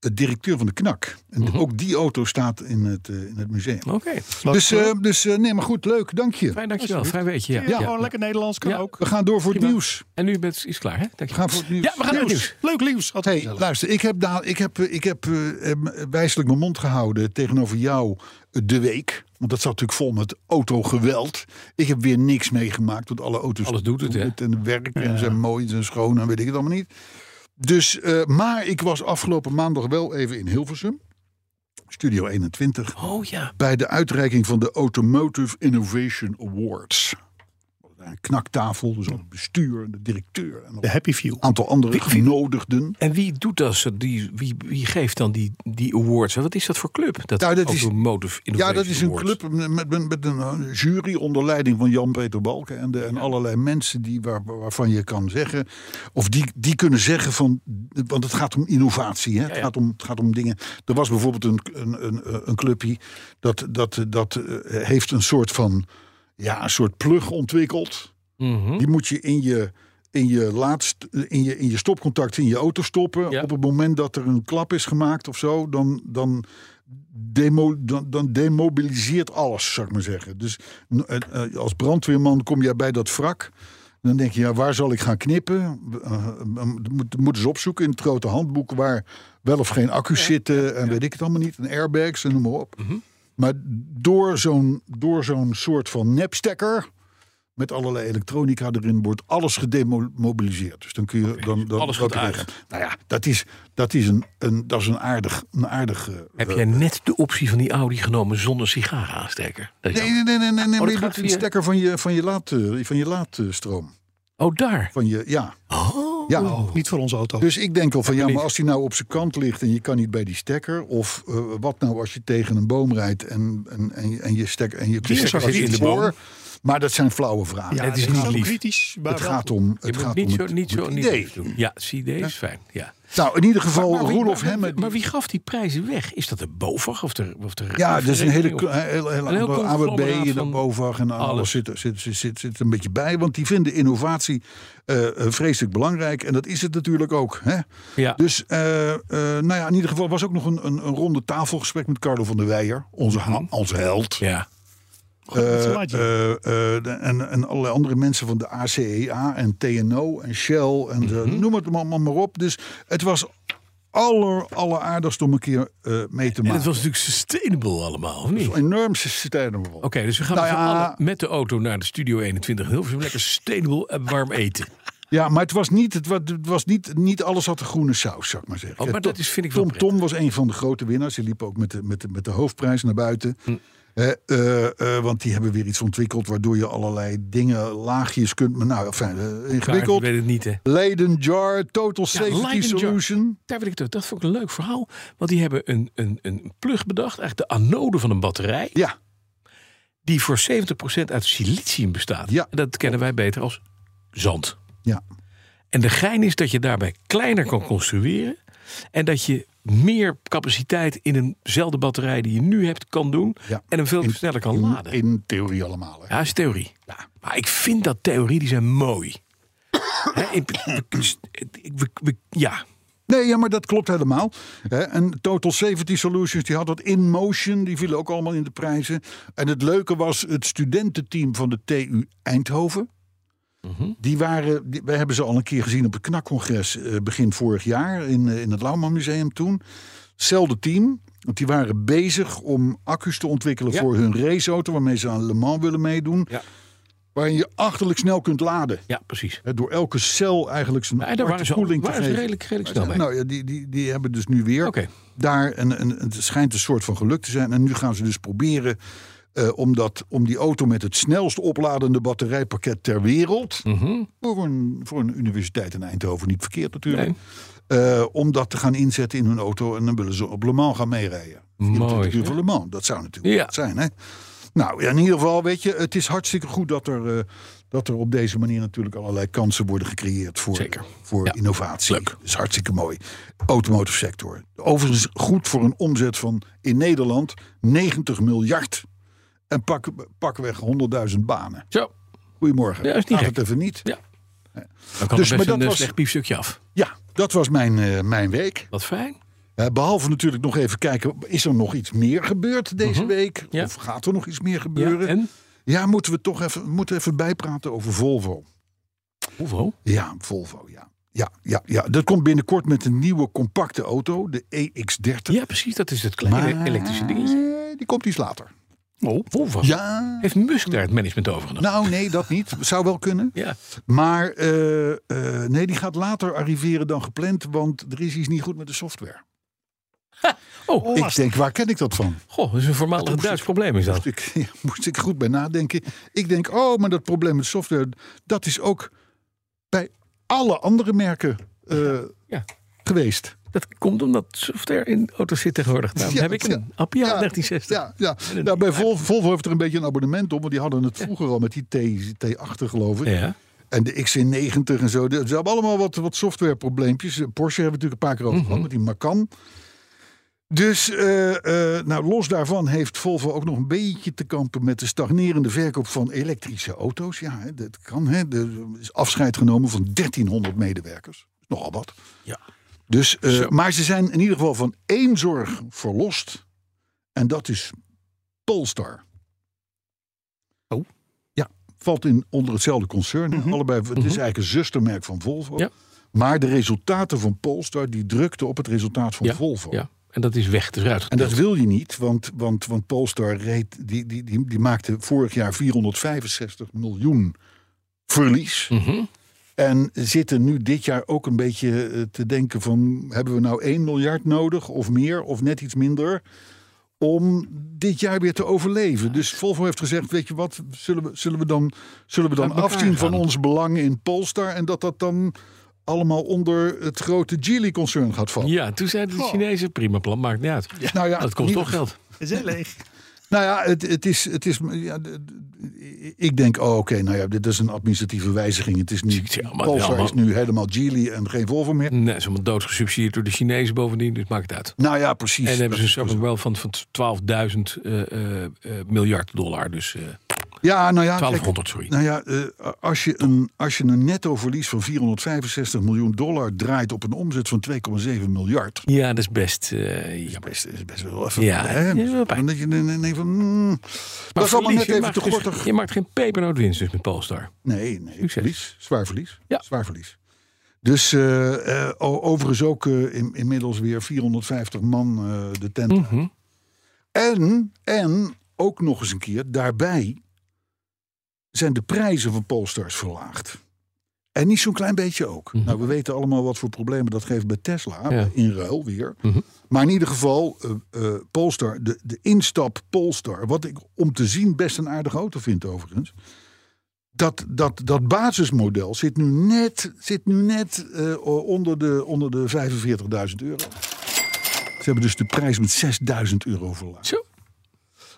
Speaker 4: eh, directeur van de KNAK. En
Speaker 5: Mhm.
Speaker 4: ook die auto staat in het, eh, in het museum.
Speaker 5: Oké.
Speaker 4: Dus, eh, dus eh, nee, maar goed, leuk, dank je.
Speaker 5: Fijn, dankjewel. Vrij weetje. Ja.
Speaker 6: Ja, gewoon lekker Nederlands, kan
Speaker 5: Ja.
Speaker 6: ook.
Speaker 4: We gaan door voor het
Speaker 5: Prima.
Speaker 4: nieuws.
Speaker 5: En nu bent, is het klaar, hè?
Speaker 4: We
Speaker 5: Dankjewel.
Speaker 4: gaan voor het nieuws.
Speaker 5: Ja, we gaan naar het nieuws.
Speaker 6: Leuk nieuws. altijd
Speaker 4: Hey,
Speaker 6: gezellig.
Speaker 4: luister, ik heb, da- ik heb, eh, ik heb eh, eh, wijselijk mijn mond gehouden tegenover jou eh, de week. Want dat zat natuurlijk vol met autogeweld. Ik heb weer niks meegemaakt, want alle auto's
Speaker 5: Alles doet het, hè?
Speaker 4: en werken en zijn mooi en zijn schoon en weet ik het allemaal niet. Dus, eh, maar ik was afgelopen maandag wel even in Hilversum. Studio 21.
Speaker 5: Oh ja.
Speaker 4: Bij de uitreiking van de Automotive Innovation Awards. Wat een knaktafel, dus ook het bestuur, en de directeur en nog
Speaker 6: De
Speaker 4: een
Speaker 6: Happy Few.
Speaker 4: aantal andere genodigden.
Speaker 5: En wie doet dat? ze- Die, wie, wie geeft dan die, die awards? Wat is dat voor club? Dat
Speaker 4: Nou, dat is-
Speaker 5: Automotive
Speaker 4: Ja,
Speaker 5: Innovation
Speaker 4: dat is een
Speaker 5: Award.
Speaker 4: club met, met, met een eh, jury onder leiding van Jan-Peter Balken. En, de, en allerlei mensen die waar, waarvan je kan zeggen. Of die, die kunnen zeggen van. Want het gaat om innovatie. Hè? Het, gaat om, het gaat om dingen. Er was bijvoorbeeld een, een, eh, een, een clubje. Dat, dat, dat eh, heeft een soort van. Ja, een soort plug ontwikkeld. Die moet je in je. In je, laatst, in, je, in je stopcontact in je auto stoppen.
Speaker 5: Ja.
Speaker 4: Op het moment dat er een klap is gemaakt of zo, dan, dan, demo, dan, dan demobiliseert alles, zou ik maar zeggen. Dus n- eh, eh, als brandweerman kom jij bij dat wrak. Dan denk je, ja, waar zal ik gaan knippen? Eh, eh, moet- moeten ze opzoeken in het grote handboek waar wel of geen accu's zitten en weet ik het allemaal niet. En airbags en noem maar op.
Speaker 5: Mhm.
Speaker 4: Maar door zo'n, door zo'n soort van nepstekker met allerlei elektronica erin wordt alles gedemobiliseerd. Dus dan kun je dan, dan
Speaker 5: alles
Speaker 4: dat
Speaker 5: gaat uit.
Speaker 4: regelen. Nou ja, dat is, dat is, een, een, dat is een aardig. Een aardig eh,
Speaker 5: Heb
Speaker 4: eh,
Speaker 5: jij net de optie van die Audi genomen zonder sigarenaansteker? Oh, Dat is
Speaker 4: Nee, nee,
Speaker 5: dan-
Speaker 4: nee, nee, nee, nee maar je
Speaker 5: gaat
Speaker 4: doet die
Speaker 5: via-
Speaker 4: stekker van je, van je, laad, eh, van je laadstroom.
Speaker 5: Oh, daar.
Speaker 4: Van je, ja. Oh.
Speaker 5: Oh.
Speaker 4: ja.
Speaker 6: Niet voor onze auto.
Speaker 4: Dus ik denk al van ja, maar als die nou op zijn kant ligt en je kan niet bij die stekker. Of eh, wat nou als je tegen een boom rijdt en, en, en, en je stekker en je
Speaker 5: stekker
Speaker 4: was
Speaker 5: zit in
Speaker 4: niet
Speaker 5: de boom.
Speaker 4: voor. Maar dat zijn flauwe vragen.
Speaker 5: het is
Speaker 6: dat
Speaker 5: niet
Speaker 6: ook
Speaker 5: lief.
Speaker 6: kritisch. Maar
Speaker 4: het
Speaker 6: wel
Speaker 4: gaat
Speaker 6: goed.
Speaker 4: om
Speaker 5: Je
Speaker 4: het, gaat om
Speaker 5: moet niet zo,
Speaker 4: het-
Speaker 5: niet zo
Speaker 4: het
Speaker 5: niet
Speaker 4: idee.
Speaker 5: lief doen. Ja, zie deze is fijn. Ja.
Speaker 4: Nou, in ieder geval
Speaker 5: Maar wie-
Speaker 4: Roelof
Speaker 5: maar-
Speaker 4: Hemmen.
Speaker 5: Maar wie gaf die prijzen weg? Is dat de BOVAG of de, of de
Speaker 4: Ja, dat is een hele
Speaker 5: of-
Speaker 4: heel, heel,
Speaker 5: Een heel
Speaker 4: aantal AWB
Speaker 5: conglomeraat
Speaker 4: en de
Speaker 5: van
Speaker 4: BOVAG en alles,
Speaker 5: alles.
Speaker 4: Zit, er- zit, zit, zit, zit een beetje bij. Want die vinden innovatie eh, eh, vreselijk belangrijk. En dat is het natuurlijk ook. Hè?
Speaker 5: Ja.
Speaker 4: Dus eh, eh, nou ja, in ieder geval was ook nog een, een, een ronde tafelgesprek met Carlo van der Weijer. Onze, ha- onze held.
Speaker 5: Mhm. Ja.
Speaker 4: Eh,
Speaker 6: plaatje.
Speaker 4: eh, eh, de- en, en allerlei andere mensen van de ACEA en TNO en Shell en de-
Speaker 5: Mhm.
Speaker 4: noem het allemaal maar op. Dus het was aller, alleraardigst om een keer eh, mee te
Speaker 5: En het
Speaker 4: maken.
Speaker 5: was natuurlijk sustainable allemaal, of niet? Oké,
Speaker 4: Enorm sustainable.
Speaker 5: dus we gaan
Speaker 4: Nou
Speaker 5: met, z'n
Speaker 4: ja.
Speaker 5: allen met de auto naar de Studio 21 in Hilversum. Lekker sustainable en warm eten.
Speaker 4: Ja, maar het was niet, het was, het was niet, niet alles had een groene saus, zou ik maar zeggen.
Speaker 5: Oh, maar
Speaker 4: Tom-
Speaker 5: dat is- vind ik wel
Speaker 4: Tom Tom was een van de grote winnaars. Die liep ook met de, met de, met de hoofdprijs naar buiten.
Speaker 5: Hm.
Speaker 4: Eh, eh, eh, want die hebben weer iets ontwikkeld waardoor je allerlei dingen, laagjes kunt. Maar nou, enfin, eh,
Speaker 5: Ik
Speaker 4: ingewikkeld.
Speaker 5: weet het niet, hè.
Speaker 4: Leiden Jar, Total Safety
Speaker 5: Leiden Jar.
Speaker 4: Solution.
Speaker 5: Daar wil ik het. Dat vond ik een leuk verhaal. Want die hebben een, een, een plug bedacht. Eigenlijk de anode van een batterij.
Speaker 4: Ja,
Speaker 5: Die voor 70% uit silicium bestaat.
Speaker 4: Ja.
Speaker 5: En dat kennen wij beter als zand.
Speaker 4: ja.
Speaker 5: En de gein is dat je daarbij kleiner kan construeren. En dat je meer capaciteit in eenzelfde batterij die je nu hebt kan doen.
Speaker 4: Ja.
Speaker 5: En hem veel
Speaker 4: In-
Speaker 5: sneller kan
Speaker 4: in,
Speaker 5: laden.
Speaker 4: in theorie allemaal. hè.
Speaker 5: Ja, is theorie. Maar ik vind dat theorie, die zijn
Speaker 4: *coughs*
Speaker 5: mooi. Hè, ik- ik- ik- we- we- ja,
Speaker 4: Nee, ja, maar dat klopt helemaal. Hè, En Total Safety Solutions, die had dat in motion. Die vielen ook allemaal in de prijzen. En het leuke was, het studententeam van de TU Eindhoven...
Speaker 5: Mhm.
Speaker 4: Die waren, die- wij hebben ze al een keer gezien op het knakcongres eh, begin vorig jaar in, eh, in het Lauwman Museum toen. Hetzelfde team, want die waren bezig om accu's te ontwikkelen voor hun raceauto waarmee ze aan Le Mans willen meedoen.
Speaker 5: Ja.
Speaker 4: Waarin je achterlijk snel kunt laden.
Speaker 5: ja, precies.
Speaker 4: Hè, door elke cel eigenlijk zijn
Speaker 5: Maar daar waren ze, al-
Speaker 4: koeling te
Speaker 5: waren ze
Speaker 4: geven.
Speaker 5: redelijk, redelijk snel mee.
Speaker 4: Nou ja, die, die, die hebben dus nu weer
Speaker 5: Oké.
Speaker 4: daar. En, en het schijnt een soort van geluk te zijn. En nu gaan ze dus proberen eh, om, dat, om die auto met het snelst opladende batterijpakket ter wereld.
Speaker 5: Mhm.
Speaker 4: voor, een, voor een universiteit in Eindhoven niet verkeerd natuurlijk. eh, om dat te gaan inzetten in hun auto. En dan willen ze op Le Mans gaan meerijden. 24 uur
Speaker 5: hè?
Speaker 4: voor Le Mans. Dat zou natuurlijk
Speaker 5: Ja.
Speaker 4: wat zijn. Hè? Nou, ja, in ieder geval, weet je, het is hartstikke goed dat er, eh, dat er op deze manier natuurlijk allerlei kansen worden gecreëerd voor,
Speaker 5: Zeker.
Speaker 4: voor
Speaker 5: Ja.
Speaker 4: innovatie.
Speaker 5: Leuk.
Speaker 4: Dat is hartstikke mooi. Automotive sector. Overigens goed voor een omzet van in Nederland 90 miljard. En pak, pak weg 100.000 banen.
Speaker 5: Zo,
Speaker 4: Goedemorgen.
Speaker 5: Ja, is niet
Speaker 4: Laat
Speaker 5: gek.
Speaker 4: het even niet.
Speaker 5: ja. Dan kan
Speaker 4: Dus,
Speaker 5: dus,
Speaker 4: maar
Speaker 5: best
Speaker 4: dat
Speaker 5: een eh,
Speaker 4: was-
Speaker 5: slecht piepstukje af.
Speaker 4: Ja, dat was mijn, eh, mijn week.
Speaker 5: Wat fijn.
Speaker 4: Eh, behalve natuurlijk nog even kijken, is er nog iets meer gebeurd deze week?
Speaker 5: Mhm. Ja.
Speaker 4: Of gaat er nog iets meer
Speaker 5: Ja,
Speaker 4: gebeuren?
Speaker 5: en?
Speaker 4: Ja, moeten we toch even, moeten even bijpraten over Volvo.
Speaker 5: Hoeveel?
Speaker 4: Ja, Volvo, ja. Ja, ja, ja, dat komt binnenkort met een nieuwe compacte auto, de EX30.
Speaker 5: Ja, precies. Dat is het kleine
Speaker 4: Maar eh,
Speaker 5: elektrische dingetje.
Speaker 4: Die komt iets later.
Speaker 5: Oh, Volvo.
Speaker 4: Ja,
Speaker 5: Heeft Musk daar het management overgenomen?
Speaker 4: nou nee, dat niet. Zou wel kunnen.
Speaker 5: ja.
Speaker 4: Maar eh, eh, nee, die gaat later arriveren dan gepland, want er is iets niet goed met de software.
Speaker 5: Oh,
Speaker 4: Ik denk, waar ken ik dat van?
Speaker 5: goh, dat is een voormalig Duits probleem is dat.
Speaker 4: Moest ik, *laughs* ja, moest ik goed bij nadenken. Ik denk, oh, maar dat probleem met software, dat is ook bij alle andere merken eh,
Speaker 5: Ja.
Speaker 4: geweest.
Speaker 5: Dat komt omdat software in auto's zit tegenwoordig. Daarom
Speaker 4: Ja,
Speaker 5: heb ik
Speaker 4: ja.
Speaker 5: een Appia 1360.
Speaker 4: Ja, ja. Nou, bij Vol- Volvo heeft er een beetje een abonnement op, want die hadden het vroeger al met die T, T8 geloof ik.
Speaker 5: Ja.
Speaker 4: En de XC90 en zo. Ze hebben allemaal wat, wat softwareprobleempjes. Eh, Porsche hebben we natuurlijk een paar keer over
Speaker 5: Mhm.
Speaker 4: gehad met die Macan. Dus eh, eh, nou, los daarvan heeft Volvo ook nog een beetje te kampen met de stagnerende verkoop van elektrische auto's. Ja, hè, dat kan. Hè. Er is afscheid genomen van 1300 medewerkers. Nogal wat.
Speaker 5: Ja.
Speaker 4: Dus, eh, maar ze zijn in ieder geval van één zorg verlost. En dat is Polestar.
Speaker 5: Oh. Mhm.
Speaker 4: Ja, valt in, onder hetzelfde concern. hè. Allebei, het is eigenlijk een zustermerk van Volvo.
Speaker 5: Ja.
Speaker 4: Maar de resultaten van Polestar die drukten op het resultaat van
Speaker 5: Ja,
Speaker 4: Volvo.
Speaker 5: ja. En dat is weg, dus het is eruit.
Speaker 4: En dat wil je niet, want, want, want Polestar reed, die, die, die, die maakte vorig jaar 465 miljoen verlies.
Speaker 5: Mhm.
Speaker 4: En zitten nu dit jaar ook een beetje eh, te denken van... hebben we nou 1 miljard nodig of meer of net iets minder... om dit jaar weer te overleven. Dus Volvo heeft gezegd, weet je wat... zullen we, zullen we dan, zullen we dan
Speaker 5: Uit elkaar
Speaker 4: afzien van
Speaker 5: gaan.
Speaker 4: ons belang in Polestar... en dat dat dan allemaal onder het grote Geely-concern gaat vallen.
Speaker 5: Ja, toen zeiden de Chinezen, prima plan, maakt niet uit.
Speaker 4: Nou ja,
Speaker 5: dat kost
Speaker 4: niet-
Speaker 5: toch geld.
Speaker 6: Gezellig.
Speaker 4: Nou ja, het, het is. Het is ja, d- d- ik denk, oh, oké, nou ja, dit is een administratieve wijziging. Het is nu.
Speaker 5: Ja, maar-
Speaker 4: Polestar
Speaker 5: ja,
Speaker 4: is
Speaker 5: maar-
Speaker 4: nu helemaal Geely en geen Volvo meer.
Speaker 5: Nee, ze is allemaal doodgesubsidieerd door de Chinezen bovendien, dus maakt het uit.
Speaker 4: Nou ja, precies.
Speaker 5: En hebben ze een soort wel van, van 12.000 eh, eh, eh, miljard dollar. Dus eh,
Speaker 4: ja, nou ja, kijk,
Speaker 5: 1200, sorry.
Speaker 4: nou Ah, ja eh, als, je een, als je een netto verlies van 465 miljoen dollar draait op een omzet van 2,7 miljard.
Speaker 5: Ja, dat is best. eh,
Speaker 4: Ja,
Speaker 5: jammer.
Speaker 4: best, is best wel even.
Speaker 5: Ja,
Speaker 4: hè?
Speaker 5: ja, wel pijn.
Speaker 4: Dan denk je, nee, nee, nee, van, mm, dat is allemaal
Speaker 5: verlies,
Speaker 4: net
Speaker 5: je
Speaker 4: even
Speaker 5: maakt
Speaker 4: te
Speaker 5: dus-
Speaker 4: gortig.
Speaker 5: je maakt geen pepernoot winst dus met Polestar.
Speaker 4: Nee, nee.
Speaker 5: Succes.
Speaker 4: Verlies. Zwaar verlies.
Speaker 5: Ja.
Speaker 4: Zwaar verlies. Dus eh, eh, o- overigens ook eh, in- inmiddels weer 450 man eh, de tent.
Speaker 5: Mhm.
Speaker 4: uit. En, en ook nog eens een keer, daarbij zijn de prijzen van Polestars verlaagd. En niet zo'n klein beetje ook. Nou, we weten allemaal wat voor problemen dat geeft bij Tesla.
Speaker 5: Ja.
Speaker 4: In ruil weer. Maar in ieder geval, eh eh, Polestar, de, de instap Polestar. Wat ik om te zien best een aardige auto vind overigens. Dat, dat, dat basismodel zit nu net, zit nu net eh, onder de, onder de 45.000 euro. Ze hebben dus de prijs met 6.000 euro verlaagd.
Speaker 5: Zo.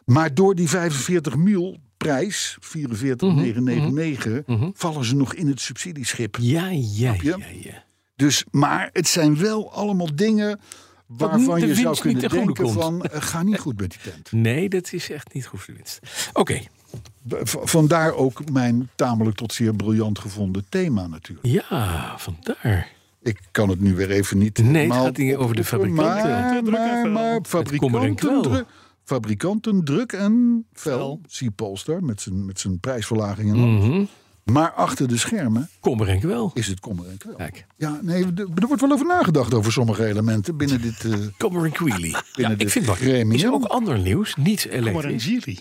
Speaker 4: Maar door die 45 mil prijs,
Speaker 5: Mhm,
Speaker 4: 44,999, vallen ze nog in het subsidieschip.
Speaker 5: Ja, ja, ja,
Speaker 4: je?
Speaker 5: ja. ja.
Speaker 4: Dus, maar het zijn wel allemaal dingen waarvan
Speaker 5: de
Speaker 4: je zou
Speaker 5: winst niet
Speaker 4: kunnen
Speaker 5: ten goede
Speaker 4: denken
Speaker 5: komt.
Speaker 4: van, eh, ga niet goed met die tent.
Speaker 5: Nee, dat is echt niet goed voor de winst. Oké,
Speaker 4: B- v- Vandaar ook mijn tamelijk tot zeer briljant gevonden thema natuurlijk.
Speaker 5: ja, vandaar.
Speaker 4: Ik kan het nu weer even niet
Speaker 5: Nee, het
Speaker 4: helemaal
Speaker 5: gaat hier over de
Speaker 4: oproepen,
Speaker 5: fabrikanten.
Speaker 4: Maar, maar, maar
Speaker 5: kommer en kwel.
Speaker 4: fabrikanten, druk, fabrikanten druk en fel. Zie Polster met zijn, met zijn prijsverlaging en alles.
Speaker 5: Mhm.
Speaker 4: Maar achter de schermen
Speaker 5: Kom er en wel.
Speaker 4: is het kommer en kwel.
Speaker 5: Kijk.
Speaker 4: Ja, nee, d- er wordt wel over nagedacht over sommige elementen *laughs* binnen dit... eh,
Speaker 5: Comer en Queely. Ja,
Speaker 4: Binnen
Speaker 5: ik
Speaker 4: dit
Speaker 5: vind het wel.
Speaker 4: gremium.
Speaker 5: Is er ook ander nieuws? Niet
Speaker 6: Maar een
Speaker 5: elektrisch.
Speaker 6: Geely.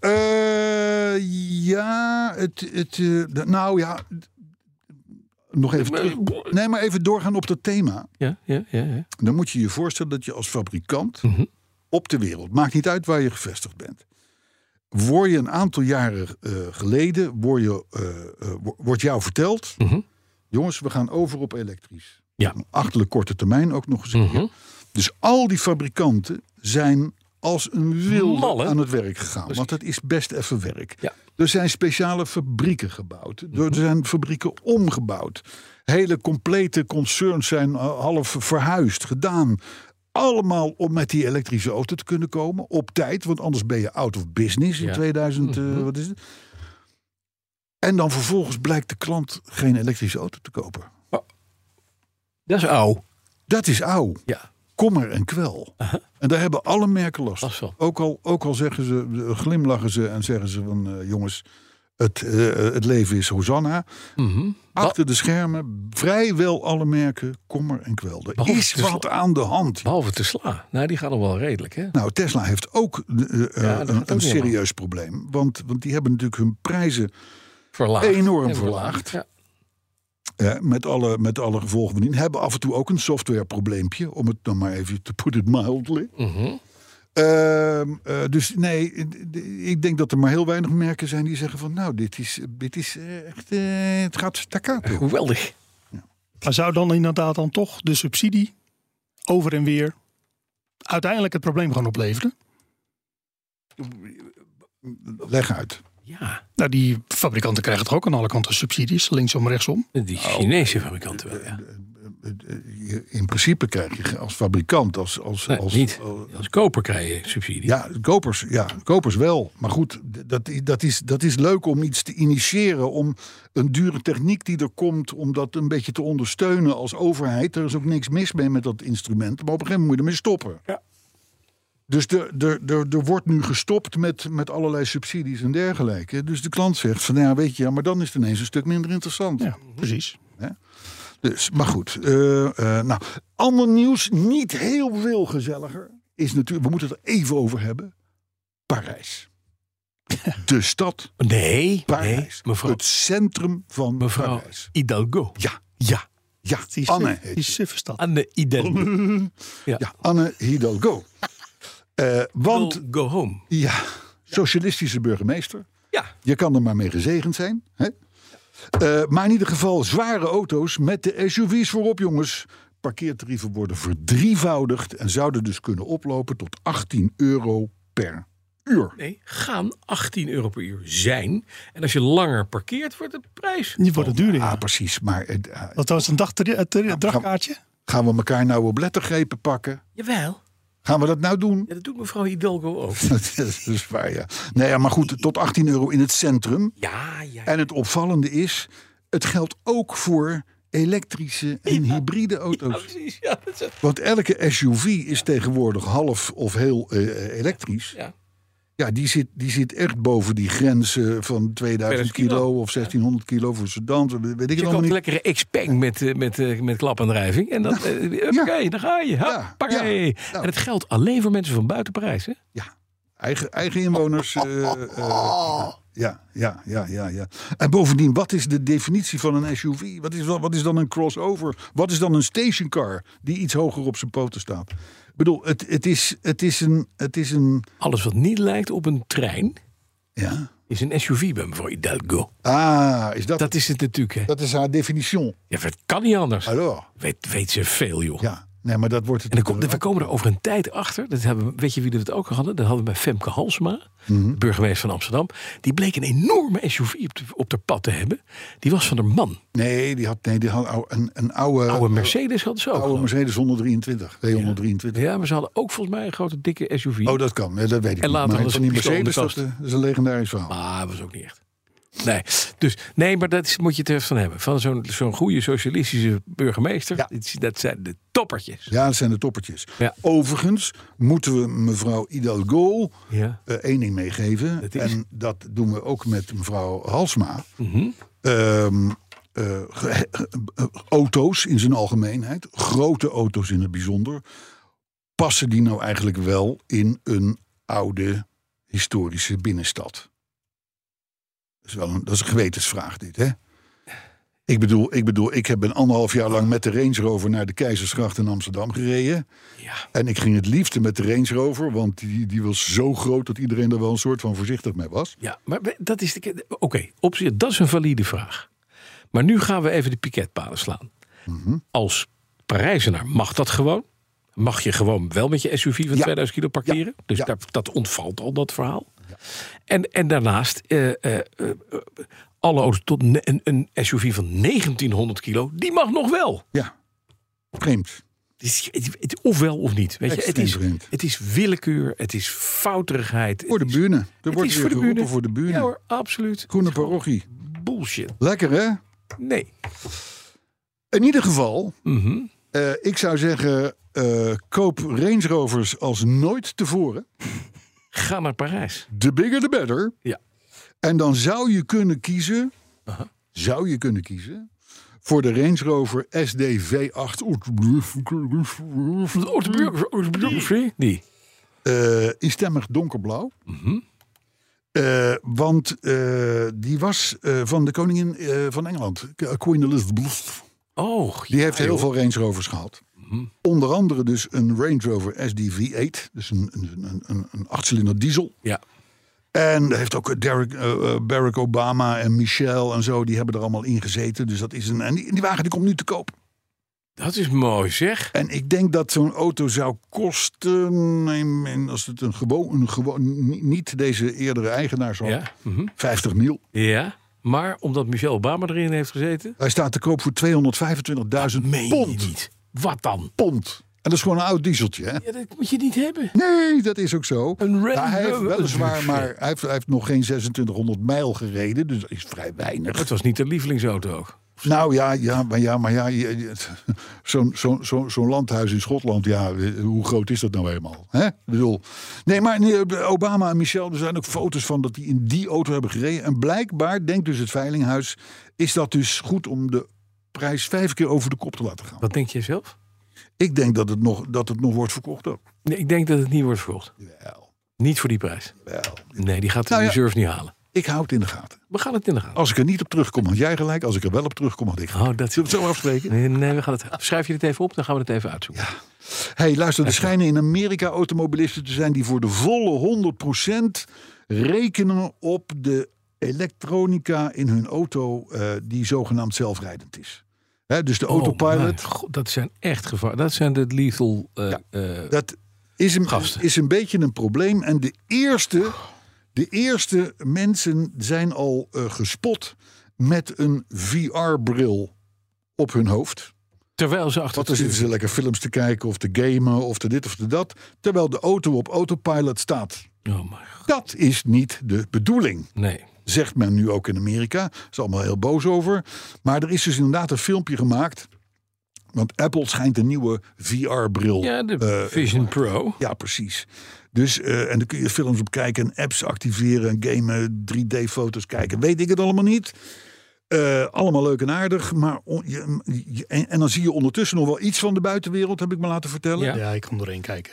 Speaker 4: Eh, ja, het, het, eh, d- nou ja. d- Nog even. terug. Nee, maar even doorgaan op dat thema.
Speaker 5: Ja, ja, ja. ja.
Speaker 4: Dan moet je je voorstellen dat je als fabrikant op de wereld, maakt niet uit waar je gevestigd bent, word je een aantal jaren eh, geleden, word je, eh, eh, wo- wordt jou verteld, jongens, we gaan over op elektrisch.
Speaker 5: Ja.
Speaker 4: Achterlijk korte termijn ook nog eens. een keer.
Speaker 5: Mhm.
Speaker 4: Dus al die fabrikanten zijn als een wilde
Speaker 5: Malle.
Speaker 4: aan het werk gegaan. Want dat is best even werk.
Speaker 5: Ja. Mhm.
Speaker 4: Er zijn speciale fabrieken gebouwd. Er zijn fabrieken omgebouwd. Hele complete concerns zijn eh, half verhuisd, gedaan. Allemaal om met die elektrische auto te kunnen komen. Op tijd, want anders ben je out of business in
Speaker 5: Ja. Mhm.
Speaker 4: 2000. eh, wat is het? En dan vervolgens blijkt de klant geen elektrische auto te kopen.
Speaker 5: Dat is oud.
Speaker 4: Dat is ouw.
Speaker 5: Ja.
Speaker 4: Kommer en kwel. En daar hebben alle merken last
Speaker 5: Last van.
Speaker 4: van. Ook al, ook al zeggen ze, glimlachen ze en zeggen ze van... eh, jongens, het, eh, het leven is Hosanna.
Speaker 5: Mhm.
Speaker 4: Achter de schermen, vrijwel alle merken, kommer en kwel. Er
Speaker 5: Behalve
Speaker 4: is
Speaker 5: Tesla.
Speaker 4: wat aan de hand.
Speaker 5: Behalve te sla. Nou, die gaan nog wel redelijk, hè?
Speaker 4: Nou, Tesla heeft ook eh, eh,
Speaker 5: dat
Speaker 4: een,
Speaker 5: gaat ook
Speaker 4: een
Speaker 5: niet
Speaker 4: serieus probleem. Want, want die hebben natuurlijk hun prijzen
Speaker 5: Verlaagd.
Speaker 4: Enorm
Speaker 5: Hebben
Speaker 4: verlaagd.
Speaker 5: Ja.
Speaker 4: Eh, eh, met, alle, met alle gevolgen van dien. Hebben af en toe ook een softwareprobleempje. Om het dan maar even te put it mildly.
Speaker 5: Mhm.
Speaker 4: Ehm, eh, dus nee, eh, d- ik denk dat er maar heel weinig merken zijn die zeggen van... nou, dit is, dit is eh, echt... eh, het gaat staccato.
Speaker 9: Geweldig.
Speaker 6: Maar zou dan inderdaad dan toch de subsidie over en weer uiteindelijk het probleem gaan opleveren?
Speaker 4: Leg uit.
Speaker 5: Ja,
Speaker 6: Nou, die fabrikanten krijgen toch ook aan alle kanten subsidies, linksom, rechtsom.
Speaker 5: die Chinese fabrikanten wel.
Speaker 4: Eh,
Speaker 5: Ja.
Speaker 4: Je- In principe krijg je als fabrikant, als... als,
Speaker 5: Nee,
Speaker 4: als
Speaker 5: niet.
Speaker 4: als-
Speaker 5: Als koper krijg je subsidie.
Speaker 4: eh, Ja, kopers, ja, kopers wel. Maar goed, d- dat, i- dat, is, dat is leuk om iets te initiëren. Om een dure techniek die er komt, om dat een beetje te ondersteunen als overheid. Er is ook niks mis mee met dat instrument. Maar op een gegeven moment moet je ermee stoppen.
Speaker 5: Ja.
Speaker 4: Dus er, er, er, er wordt nu gestopt met, met allerlei subsidies en dergelijke. Dus de klant zegt van, ja, weet je, ja, maar dan is het ineens een stuk minder interessant.
Speaker 6: Ja, precies.
Speaker 4: Dus, maar goed. eh, eh, nou, ander nieuws, niet heel veel gezelliger, is natuurlijk, we moeten het er even over hebben:
Speaker 5: *laughs*
Speaker 4: Parijs. De stad
Speaker 5: Nee,
Speaker 4: Parijs.
Speaker 5: nee, mevrouw,
Speaker 4: Het centrum van
Speaker 5: mevrouw
Speaker 4: Parijs.
Speaker 5: Hidalgo.
Speaker 4: Ja,
Speaker 5: Ja,
Speaker 4: ja.
Speaker 6: Die
Speaker 4: Anne
Speaker 6: suf-
Speaker 4: heet
Speaker 6: Die
Speaker 4: ze.
Speaker 6: suffe stad.
Speaker 5: aan de Hidalgo.
Speaker 4: Ja, Anne Hidalgo. Eh, want,
Speaker 5: Want go home.
Speaker 4: ja, socialistische burgemeester.
Speaker 5: Ja,
Speaker 4: Je kan er maar mee gezegend zijn. Hè? Eh, maar in ieder geval zware auto's met de SUV's voorop, jongens. Parkeertarieven worden verdrievoudigd en zouden dus kunnen oplopen tot 18 euro per uur.
Speaker 5: nee, gaan 18 euro per uur zijn. En als je langer parkeert, wordt de prijs.
Speaker 6: Die worden duurder. ja.
Speaker 4: Ah, precies. Maar eh, eh,
Speaker 6: Dat was een dag, dagkaartje.
Speaker 4: gaan we elkaar nou op lettergrepen pakken?
Speaker 5: Jawel,
Speaker 4: Gaan we dat nou doen? *laughs*
Speaker 5: ja, dat doet mevrouw Hidalgo ook.
Speaker 4: dat is dus waar, ja. Nee, ja, maar goed, tot 18 euro in het centrum.
Speaker 5: Ja, ja.
Speaker 4: En het opvallende is, het geldt ook voor elektrische en hybride
Speaker 5: ja,
Speaker 4: auto's.
Speaker 5: precies. Ja, dat is-
Speaker 4: Want elke SUV is tegenwoordig half of heel eh, eh, elektrisch.
Speaker 5: ja.
Speaker 4: Ja, die zit, die zit echt boven die grenzen van 2000
Speaker 5: kilo.
Speaker 4: kilo of 1600 kilo voor sedans. Weet ik
Speaker 5: Je
Speaker 4: het allemaal
Speaker 5: koopt
Speaker 4: niet.
Speaker 5: een lekkere Xpeng met, eh, met, eh, met klapaandrijving. En dan, eh, oké, daar ga je.
Speaker 4: Ja,
Speaker 5: Hoppakee.
Speaker 4: ja, Nou. ja.
Speaker 5: En het geldt alleen voor mensen van buiten Parijs. Hè?
Speaker 4: Ja, eigen, eigen inwoners. eh, eh, ja, ja, ja, ja, ja. En bovendien, wat is de definitie van een SUV? Wat is, wat is dan een crossover? Wat is dan een stationcar die iets hoger op zijn poten staat? Ik bedoel, het, het, is, het is een... Het is een
Speaker 5: Alles wat niet lijkt op een trein
Speaker 4: ja.
Speaker 5: is een SUV bij mevrouw Hidalgo.
Speaker 4: Ah, is dat, dat,
Speaker 5: Dat is het natuurlijk. Hè?
Speaker 4: is haar definitie.
Speaker 5: Ja, het kan niet anders.
Speaker 4: Alors,
Speaker 5: Weet, weet ze veel, joh.
Speaker 4: ja. Nee, maar dat wordt het...
Speaker 5: En dan komt, we komen er over een tijd achter. Dat hebben, we- weet je wie dat ook hadden? Dat hadden we bij Femke Halsma,
Speaker 4: Mhm.
Speaker 5: de burgemeester van Amsterdam. Die bleek een enorme SUV op de, op de pad te hebben. Die was van haar man.
Speaker 4: Nee, die had, nee, die had ou- een, een oude,
Speaker 5: Oude Mercedes hadden ze ook.
Speaker 4: Eh, oude
Speaker 5: geloof ik.
Speaker 4: Mercedes 123. 223.
Speaker 5: Ja, maar ze hadden ook volgens mij een grote dikke SUV.
Speaker 4: Oh, dat kan. Ja, dat weet ik
Speaker 5: En
Speaker 4: niet.
Speaker 5: later
Speaker 4: Maar
Speaker 5: hadden ze
Speaker 4: van die
Speaker 5: een pistool in de
Speaker 4: Mercedes, dat, eh, dat is een legendarisch verhaal.
Speaker 5: Maar dat was ook niet echt. Nee, dus, nee maar dat is- moet je het even van hebben. Van zo'n zo'n goede socialistische burgemeester.
Speaker 4: Ja.
Speaker 5: Dit- Dat zijn de toppertjes.
Speaker 4: Ja, dat zijn de toppertjes.
Speaker 5: Ja.
Speaker 4: Overigens moeten we mevrouw Hidalgo
Speaker 5: Ja.
Speaker 4: eh, één ding meegeven.
Speaker 5: Dat is?
Speaker 4: En dat doen we ook met mevrouw Halsma.
Speaker 5: Mhm.
Speaker 4: Ehm, eh, ge- eh, auto's in zijn algemeenheid, grote auto's in het bijzonder. Passen die nou eigenlijk wel in een oude historische binnenstad? Dat is wel een, dat is een gewetensvraag dit, hè? Ik bedoel, ik bedoel, ik heb ben anderhalf jaar lang met de Range Rover naar de Keizersgracht in Amsterdam gereden.
Speaker 5: Ja.
Speaker 4: En ik ging het liefste met de Range Rover, want die, die was zo groot dat iedereen er wel een soort van voorzichtig mee was.
Speaker 5: ja, maar we- dat is de. ke- Oké, op zich, dat is een valide vraag. Maar nu gaan we even de piketpalen slaan.
Speaker 4: Mhm.
Speaker 5: Als Parijzenaar mag dat gewoon. Mag je gewoon wel met je SUV van
Speaker 4: Ja.
Speaker 5: 2000 kilo parkeren. Dus
Speaker 4: Ja.
Speaker 5: daar- dat ontvalt al dat verhaal. En, en daarnaast, eh, eh, eh, eh, alle auto's tot ne- een, een SUV van 1900 kilo, die mag nog wel.
Speaker 4: Ja, vreemd.
Speaker 5: Het is- het- het- ofwel of niet. Weet je, het,
Speaker 4: Extreem
Speaker 5: is,
Speaker 4: vreemd.
Speaker 5: het is willekeur, het is fouterigheid. het
Speaker 4: Voor de
Speaker 5: is-
Speaker 4: buren. Er
Speaker 5: het
Speaker 4: wordt
Speaker 5: is
Speaker 4: weer
Speaker 5: voor de
Speaker 4: geroepen
Speaker 5: buren.
Speaker 4: voor de buren.
Speaker 5: Ja hoor, absoluut.
Speaker 4: Groene parochie.
Speaker 5: Bullshit.
Speaker 4: Lekker hè?
Speaker 5: Nee.
Speaker 4: In ieder geval,
Speaker 5: Mhm.
Speaker 4: eh, ik zou zeggen, eh, koop Range Rovers als nooit tevoren.
Speaker 5: Ga naar Parijs.
Speaker 4: The bigger the better.
Speaker 5: Ja. Uh-huh.
Speaker 4: En dan zou je kunnen kiezen, zou je kunnen kiezen, voor de Range Rover SDV8
Speaker 5: Die. Oh, Mhm.
Speaker 4: eh in stemmig donkerblauw. Eh, want eh, die was eh, van de koningin eh, van Engeland, K- Queen Elizabeth.
Speaker 5: Oh, Mhm.
Speaker 4: Die heeft heel veel Range Rovers gehad. Onder andere dus een Range Rover SDV8, dus een, een, een, een, een achtcilinder diesel.
Speaker 5: Ja.
Speaker 4: En daar heeft ook eh, Derek, eh, eh, Barack Obama en Michelle en zo, die hebben er allemaal in gezeten. Dus dat is een, en die, die wagen die komt nu te koop.
Speaker 5: Dat is mooi, zeg.
Speaker 4: En ik denk dat zo'n auto zou kosten, nee, en als het een gewoon, een gewoon ni- niet deze eerdere eigenaar zou,
Speaker 5: Ja. mhm.
Speaker 4: 50 mil.
Speaker 5: ja. Maar omdat Michelle Obama erin heeft gezeten.
Speaker 4: Hij staat te koop voor 225.000
Speaker 5: Meen je
Speaker 4: pond.
Speaker 5: niet. Wat dan?
Speaker 4: Pond. En dat is gewoon een oud dieseltje, hè?
Speaker 5: Ja, dat moet je niet hebben.
Speaker 4: Nee, dat is ook zo.
Speaker 5: Een Range
Speaker 4: Nou, hij heeft
Speaker 5: Rover.
Speaker 4: weliswaar maar hij heeft, hij heeft nog geen 2600 mijl gereden, dus dat is vrij weinig.
Speaker 5: Het was niet de lievelingsauto.
Speaker 4: Nou ja, ja, maar ja, maar ja, je- je- *laughs* het- zo'n zo'n zo'n zo'n landhuis in Schotland, ja, hoe groot is dat nou helemaal? Hè? Ik bedoel, nee, maar nee, Obama en Michelle, er zijn ook foto's van dat die in die auto hebben gereden. En blijkbaar, denkt dus het Veilinghuis, is dat dus goed om de prijs vijf keer over de kop te laten gaan.
Speaker 5: Wat denk jij zelf?
Speaker 4: Ik denk dat het nog, dat het nog wordt verkocht ook.
Speaker 5: Nee, ik denk dat het niet wordt verkocht. Niet voor die prijs.
Speaker 4: Wel.
Speaker 5: Nee, die gaat de
Speaker 4: Nou ja.
Speaker 5: reserve niet halen.
Speaker 4: Ik hou het in de gaten.
Speaker 5: We gaan het in de gaten.
Speaker 4: Als ik er niet op terugkom, had jij gelijk. Als ik er wel op terugkom, had ik gelijk.
Speaker 5: Oh, dat-
Speaker 4: Zullen we het zo afspreken?
Speaker 5: Nee, nee, we gaan het. Schrijf je dit even op, dan gaan we het even uitzoeken.
Speaker 4: hey, luister, er schijnen in Amerika automobilisten te zijn... die voor de volle 100% rekenen op de elektronica in hun auto... eh, die zogenaamd zelfrijdend is. Hè, dus de
Speaker 5: Oh,
Speaker 4: autopilot,
Speaker 5: mijn god, dat zijn echt gevaar. Dat zijn de lethal. eh, eh,
Speaker 4: dat is een,
Speaker 5: Gasten.
Speaker 4: is een beetje een probleem. En de eerste, de eerste mensen zijn al eh, gespot met een VR-bril op hun hoofd...
Speaker 5: terwijl ze achter.
Speaker 4: Want dan zitten ze lekker films te kijken of te gamen of te dit of te dat. Terwijl de auto op autopilot staat.
Speaker 5: Oh, mijn god.
Speaker 4: Dat is niet de bedoeling,
Speaker 5: Nee.
Speaker 4: zegt men nu ook in Amerika. Is allemaal heel boos over. Maar er is dus inderdaad een filmpje gemaakt. Want Apple schijnt een nieuwe VR-bril.
Speaker 5: Ja, de
Speaker 4: eh,
Speaker 5: Vision Pro.
Speaker 4: ja, precies. Dus, eh, en dan kun je films op kijken en apps activeren, en gamen, 3D-foto's kijken. Weet ik het allemaal niet. Eh, allemaal leuk en aardig. Maar on- je, je- en, en dan zie je ondertussen nog wel iets van de buitenwereld, heb ik me laten vertellen.
Speaker 5: Ja.
Speaker 4: Ja,
Speaker 6: Ja, ik kon doorheen kijken.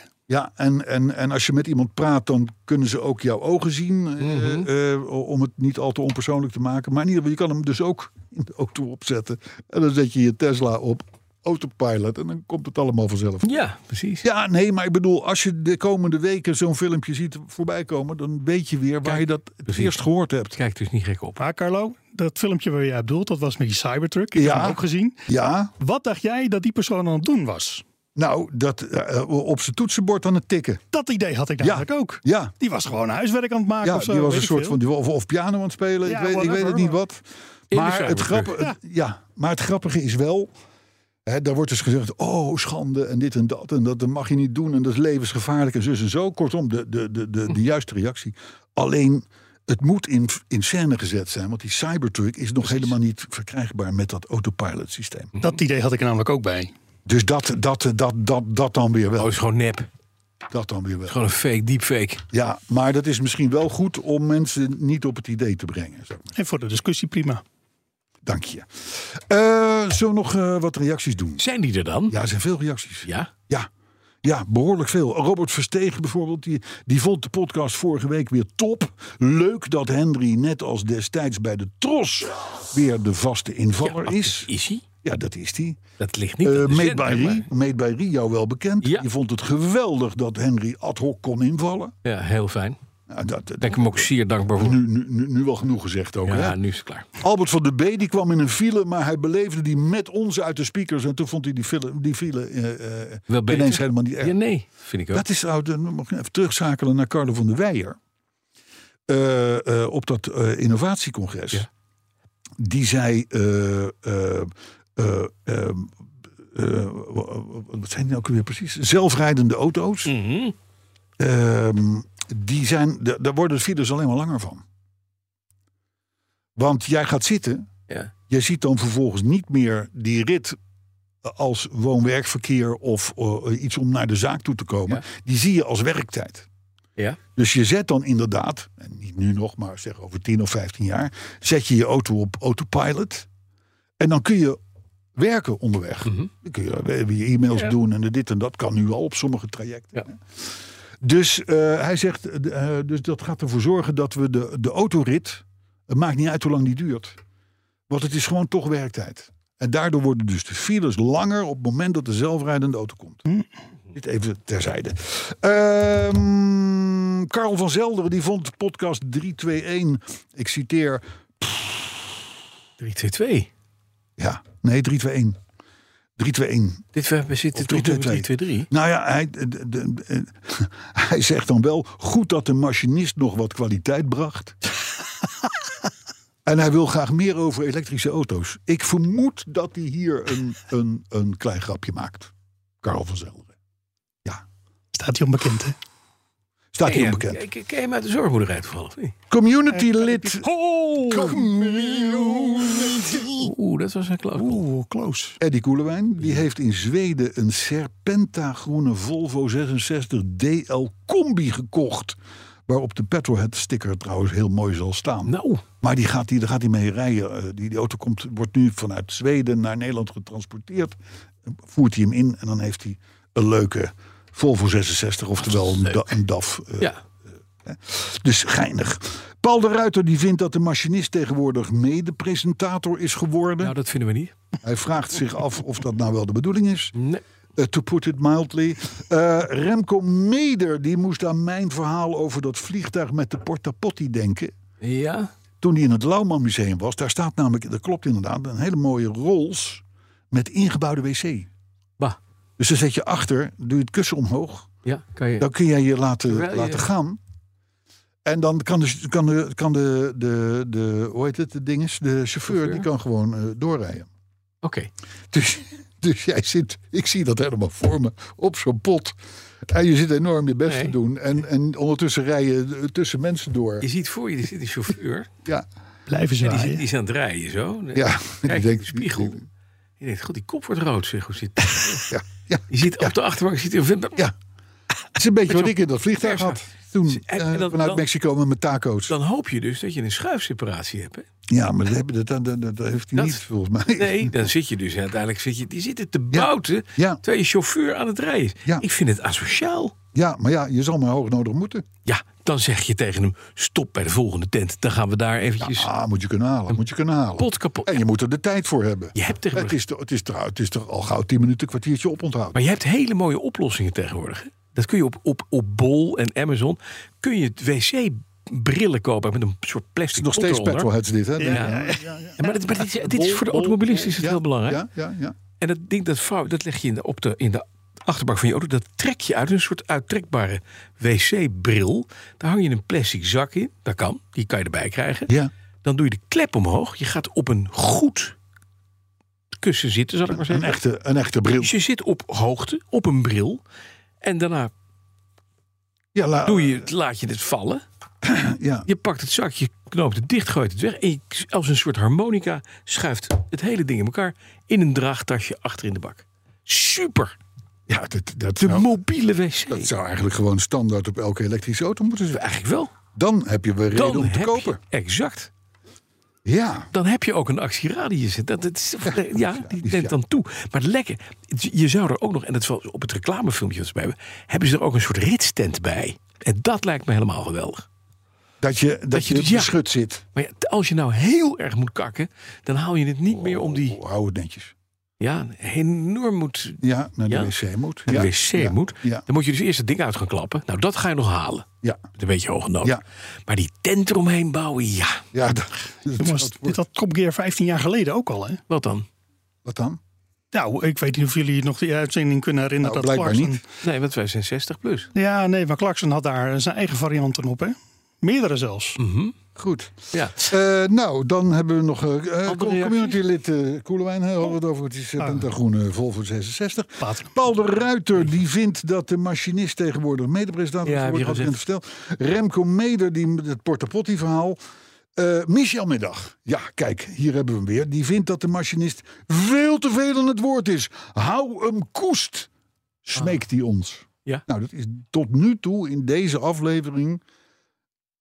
Speaker 4: en, en, en als je met iemand praat, dan kunnen ze ook jouw ogen zien. eh, eh, om het niet al te onpersoonlijk te maken. Maar in ieder geval, je kan hem dus ook in de auto opzetten. En dan zet je je Tesla op autopilot. En dan komt het allemaal vanzelf.
Speaker 5: Ja, precies.
Speaker 4: Ja, nee, maar ik bedoel, als je de komende weken zo'n filmpje ziet voorbij komen, dan weet je weer waar
Speaker 5: Kijk,
Speaker 4: je dat het
Speaker 5: precies.
Speaker 4: eerst gehoord hebt.
Speaker 5: Kijk dus niet gek op.
Speaker 6: Maar Carlo, dat filmpje waar jij bedoelt, dat was met die Cybertruck. Ik
Speaker 4: Ja.
Speaker 6: heb hem ook gezien.
Speaker 4: Ja,
Speaker 6: Wat dacht jij dat die persoon aan het doen was?
Speaker 4: nou, dat eh, op zijn toetsenbord aan het tikken.
Speaker 6: Dat idee had ik namelijk ook.
Speaker 4: Ja,
Speaker 6: Die was gewoon huiswerk aan het maken
Speaker 4: ja
Speaker 6: of zo.
Speaker 4: die was
Speaker 6: weet
Speaker 4: een
Speaker 6: ik
Speaker 4: soort
Speaker 6: veel.
Speaker 4: van, die- of, of piano aan het spelen,
Speaker 6: Ja,
Speaker 4: ik, weet, ik weet het
Speaker 6: whatever.
Speaker 4: niet wat.
Speaker 5: de
Speaker 4: Maar het,
Speaker 5: cybertruck.
Speaker 4: grappige, het- ja, maar het grappige is wel, hè, daar wordt dus gezegd, oh schande en dit en dat en dat, dat mag je niet doen en dat is levensgevaarlijk en zus en zo. Kortom, de, de, de, de, de juiste reactie. Alleen, het moet in, in scène gezet zijn, want die Cybertruck is nog helemaal niet verkrijgbaar met dat autopilot systeem.
Speaker 6: Dat idee had ik er namelijk ook bij.
Speaker 4: Dus dat, dat, dat, dat, dat dan weer
Speaker 5: Oh,
Speaker 4: wel.
Speaker 5: is gewoon nep.
Speaker 4: Dat dan weer wel.
Speaker 5: Gewoon een fake, deepfake.
Speaker 4: Ja, maar dat is misschien wel goed om mensen niet op het idee te brengen. Zeg maar.
Speaker 6: En voor de discussie prima.
Speaker 4: Dank je. Eh, zullen we nog eh, wat reacties doen?
Speaker 5: Zijn die er dan?
Speaker 4: Ja, er zijn veel reacties.
Speaker 5: Ja?
Speaker 4: Ja, ja behoorlijk veel. Robert Versteeg bijvoorbeeld, die, die vond de podcast vorige week weer top. Leuk dat Henry, net als destijds bij de Tros, weer de vaste invaller is.
Speaker 5: Is hij?
Speaker 4: Ja, dat is die.
Speaker 5: Dat ligt niet.
Speaker 4: Eh,
Speaker 5: aan de
Speaker 4: Made,
Speaker 5: zender,
Speaker 4: by Rie,
Speaker 5: maar-
Speaker 4: Made by Rie, jou wel bekend.
Speaker 5: Ja.
Speaker 4: Je vond het geweldig dat Henry ad hoc kon invallen.
Speaker 5: Ja, heel fijn.
Speaker 4: Nou, dat, dat-
Speaker 5: Ben ik hem ook zeer dankbaar voor.
Speaker 4: nu, nu, nu, nu wel genoeg gezegd ook.
Speaker 5: Ja,
Speaker 4: hè?
Speaker 5: nu is het klaar.
Speaker 4: Albert van de B die kwam in een file, maar hij beleefde die met ons uit de speakers. En toen vond hij die file, die file eh, eh,
Speaker 5: Wel beter.
Speaker 4: ineens helemaal niet erg.
Speaker 5: Ja, nee. Vind ik ook.
Speaker 4: Dat is oud. Dan mag ik even terugschakelen naar Carlo van der Weijer. Eh, eh, op dat eh, innovatiecongres.
Speaker 5: Ja.
Speaker 4: Die zei. eh, eh, eh, eh, eh, wat zijn die nou ook weer precies? Zelfrijdende auto's.
Speaker 5: Mhm.
Speaker 4: Ehm, die zijn, da- daar worden de files alleen maar langer van. Want jij gaat zitten.
Speaker 5: Ja.
Speaker 4: Je ziet dan vervolgens niet meer die rit als woon-werkverkeer of eh, iets om naar de zaak toe te komen.
Speaker 5: Ja.
Speaker 4: Die zie je als werktijd.
Speaker 5: Ja.
Speaker 4: Dus je zet dan inderdaad, en niet nu nog, maar zeg over 10 of 15 jaar, zet je je auto op autopilot. En dan kun je werken onderweg. Dan kun je eh, je e-mails
Speaker 5: Mhm. Ja.
Speaker 4: doen en dit en dat kan nu al op sommige trajecten.
Speaker 5: Ja.
Speaker 4: Dus eh, hij zegt, eh, eh, dus dat gaat ervoor zorgen dat we de, de autorit, het maakt niet uit hoe lang die duurt. Want het is gewoon toch werktijd. En daardoor worden dus de files langer op het moment dat de zelfrijdende auto komt. Dit even terzijde. Ehm Karel van Zelderen die vond podcast 321, ik citeer,
Speaker 5: 3-2-2.
Speaker 4: ja, nee 321. 321.
Speaker 5: Dit we we zitten
Speaker 4: Of
Speaker 5: tot
Speaker 4: 3-2-2.
Speaker 5: nummer 3-2-3.
Speaker 4: Nou ja, hij, de- de- de- *laughs* hij zegt dan wel goed dat de machinist nog wat kwaliteit bracht. *laughs* en hij wil graag meer over elektrische auto's. Ik vermoed dat hij hier een, een, een klein grapje maakt. Karel van Zelderen.
Speaker 6: Staat hij onbekend, hè?
Speaker 4: Staat hier
Speaker 5: Ja,
Speaker 4: onbekend.
Speaker 5: Ik ik- ken hem uit de zorgboerderij toevallig. of niet?
Speaker 4: Community
Speaker 6: eh,
Speaker 4: lid.
Speaker 5: Oeh, dat was een klas.
Speaker 6: Oeh, close.
Speaker 4: Eddie Koelewijn, die heeft in Zweden een Serpenta-groene Volvo 66 DL Combi gekocht. Waarop de Petrolhead sticker trouwens heel mooi zal staan.
Speaker 5: Nou,
Speaker 4: Maar die gaat, die, daar gaat hij mee rijden. Eh, die, die auto komt, wordt nu vanuit Zweden naar Nederland getransporteerd. Voert hij hem in en dan heeft hij een leuke Volvo 66, oftewel een, da- een DAF. eh,
Speaker 5: ja.
Speaker 4: Dus geinig. Paul de Ruiter die vindt dat de machinist tegenwoordig mede-presentator is geworden.
Speaker 5: Nou, dat vinden we niet.
Speaker 4: Hij vraagt zich af of dat nou wel de bedoeling is.
Speaker 5: Nee.
Speaker 4: Eh, to put it mildly. Eh, Remco Meder die moest aan mijn verhaal over dat vliegtuig met de Porta Potti denken
Speaker 5: Ja.
Speaker 4: toen hij in het Lauwman Museum was, daar staat namelijk, dat klopt inderdaad, een hele mooie Rolls met ingebouwde wc.
Speaker 5: Bah.
Speaker 4: Dus dan zet je achter, doe je het kussen omhoog,
Speaker 5: Ja, kan je.
Speaker 4: dan kun jij je laten,
Speaker 5: Terwijl je-
Speaker 4: laten gaan. En dan kan de, kan de, kan de, de, de hoe heet het, de dinges, de chauffeur,
Speaker 5: Chauffeur?
Speaker 4: die kan gewoon eh, doorrijden.
Speaker 5: Oké.
Speaker 4: Dus, *laughs* dus jij zit, ik zie dat helemaal voor me, op zo'n pot. En je zit enorm je best te
Speaker 5: Nee.
Speaker 4: doen. En, en ondertussen rij je eh, tussen mensen door.
Speaker 5: Je ziet voor je, er zit een chauffeur.
Speaker 4: Ja,
Speaker 6: Blijven
Speaker 5: En die, zit-
Speaker 6: zwaaien.
Speaker 5: die is aan het rijden zo.
Speaker 4: ja.
Speaker 5: Kijk
Speaker 4: Ik
Speaker 5: in
Speaker 4: denk-
Speaker 5: de spiegel. Je denkt, god, die kop wordt rood, zeg. Hoe zit
Speaker 4: Ja, *laughs* ja.
Speaker 5: Je ziet op de achterbank zit een vent.
Speaker 4: Ja. Het is een beetje
Speaker 5: Met
Speaker 4: wat ik in dat vliegtuig
Speaker 5: Ja,
Speaker 4: had. Toen
Speaker 5: En-
Speaker 4: eh,
Speaker 5: en dat-
Speaker 4: vanuit
Speaker 5: dan-
Speaker 4: Mexico met mijn taco's.
Speaker 5: Dan hoop je dus dat je een schuifseparatie
Speaker 4: *laughs*
Speaker 5: hebt. Hè?
Speaker 4: ja, maar dat, heb- dat, dat, dat- dat heeft hij
Speaker 5: Dat-
Speaker 4: niet volgens mij.
Speaker 5: Nee, dan zit je dus uiteindelijk zit je, die zitten te bouten
Speaker 4: Ja.
Speaker 5: terwijl je chauffeur aan het rijden is.
Speaker 4: Ja.
Speaker 5: Ik vind het
Speaker 4: *laughs*
Speaker 5: asociaal.
Speaker 4: Ja, maar ja, je zal maar hoog nodig moeten.
Speaker 5: Ja, dan zeg je tegen hem, stop bij de volgende tent. Dan gaan we daar eventjes
Speaker 4: Ah, moet je kunnen halen, moet je kunnen halen.
Speaker 5: pot kapot.
Speaker 4: En je moet er de tijd voor hebben.
Speaker 5: Je hebt tegenwoordig-
Speaker 4: het, is toch, het, is toch, het is toch al gauw tien minuten, kwartiertje oponthoud.
Speaker 5: Maar je hebt hele mooie oplossingen tegenwoordig. hè. Dat kun je op, op, op Bol en Amazon. Kun je het wc-brillen kopen met een soort
Speaker 4: Het is
Speaker 5: plastic
Speaker 4: nog steeds
Speaker 5: pot eronder.
Speaker 4: petrolheads dit, hè?
Speaker 5: Ja. Ja, maar dit, maar dit, is- dit is voor de automobilist is het heel belangrijk.
Speaker 4: Ja, ja, ja.
Speaker 5: En dat ding, dat vrouw, dat leg je in de, op de, in de achterbak van je auto. Dat trek je uit een soort uittrekbare wc-bril. Daar hang je een plastic zak in. Dat kan, die kan je erbij krijgen.
Speaker 4: ja.
Speaker 5: Dan doe je de klep omhoog. Je gaat op een goed kussen zitten, zal ik maar
Speaker 4: Een,
Speaker 5: zeggen.
Speaker 4: echte, een echte bril.
Speaker 5: Dus je zit op hoogte, op een bril. En daarna
Speaker 4: Ja, la-
Speaker 5: doe je, het- laat je het vallen.
Speaker 4: ja.
Speaker 5: Je pakt het zakje, knoopt het dicht, gooit het weg. En je, als een soort harmonica schuift het hele ding in elkaar... in een draagtasje achter in de bak. Super!
Speaker 4: ja dat, dat,
Speaker 5: De
Speaker 4: zou,
Speaker 5: mobiele wc.
Speaker 4: dat zou eigenlijk gewoon standaard op elke elektrische auto moeten zijn.
Speaker 5: Eigenlijk wel.
Speaker 4: Dan heb je weer reden om te
Speaker 5: heb
Speaker 4: kopen.
Speaker 5: Je, exact.
Speaker 4: Ja.
Speaker 5: Dan heb je ook een actieradius. Dat, dat is, *laughs* ja, die
Speaker 4: is
Speaker 5: neemt dan toe. Maar lekker. Je zou er ook nog, en dat is wel op het reclamefilmpje dat ze bij hebben... hebben ze er ook een soort ritstent bij. En dat lijkt me helemaal geweldig.
Speaker 4: Dat je, dat
Speaker 5: Dat je
Speaker 4: je,
Speaker 5: dus- ja.
Speaker 4: beschut zit.
Speaker 5: Maar ja, als je nou heel erg moet kakken... dan haal je het niet meer om die...
Speaker 4: Oh, hou het netjes.
Speaker 5: Ja, enorm moet...
Speaker 4: Ja, naar de
Speaker 5: Ja.
Speaker 4: wc moet.
Speaker 5: naar
Speaker 4: ja.
Speaker 5: de wc
Speaker 4: ja.
Speaker 5: moet.
Speaker 4: Ja.
Speaker 5: Dan moet je dus eerst het ding uit gaan klappen. Nou, dat ga je nog halen.
Speaker 4: Ja.
Speaker 5: Met een beetje hoge nood.
Speaker 4: Ja.
Speaker 5: Maar die tent eromheen bouwen, ja.
Speaker 4: Ja, Dus dat, dat-
Speaker 6: Jongens,
Speaker 4: dat
Speaker 6: dit
Speaker 4: wordt-
Speaker 6: had Top Gear 15 jaar geleden ook al, hè?
Speaker 5: Wat dan?
Speaker 4: wat dan?
Speaker 6: Nou, ik weet niet of jullie nog die uitzending kunnen herinneren.
Speaker 4: Nou,
Speaker 6: dat
Speaker 4: blijkbaar
Speaker 6: Clarkson-
Speaker 4: niet.
Speaker 5: Nee, want wij zijn 60 plus.
Speaker 6: Ja, nee, maar Clarkson had daar zijn eigen varianten op, hè? Meerdere zelfs.
Speaker 4: Hm. Goed.
Speaker 5: Mhm. Ja.
Speaker 4: Eh, nou, dan hebben we nog eh, eh,
Speaker 5: Andere Oh. Ah.
Speaker 4: community lid eh Koelewijn. hè, Hadden we het over. Het is eh, Pentagroene Volvo 66.
Speaker 6: Later.
Speaker 4: Paul de Ruiter die vindt dat de machinist tegenwoordig medepresentator
Speaker 5: Ja,
Speaker 4: ja,
Speaker 5: heb
Speaker 4: wordt.
Speaker 5: je
Speaker 4: Had ik net verteld. Remco Meder, die, het portapotti verhaal. Eh, Michel Middag. Ja, kijk, hier hebben we hem weer. Die vindt dat de machinist veel te veel aan het woord is. Hou hem koest, smeekt hij ons.
Speaker 5: Ah. Ja.
Speaker 4: Nou, dat is tot nu toe in deze aflevering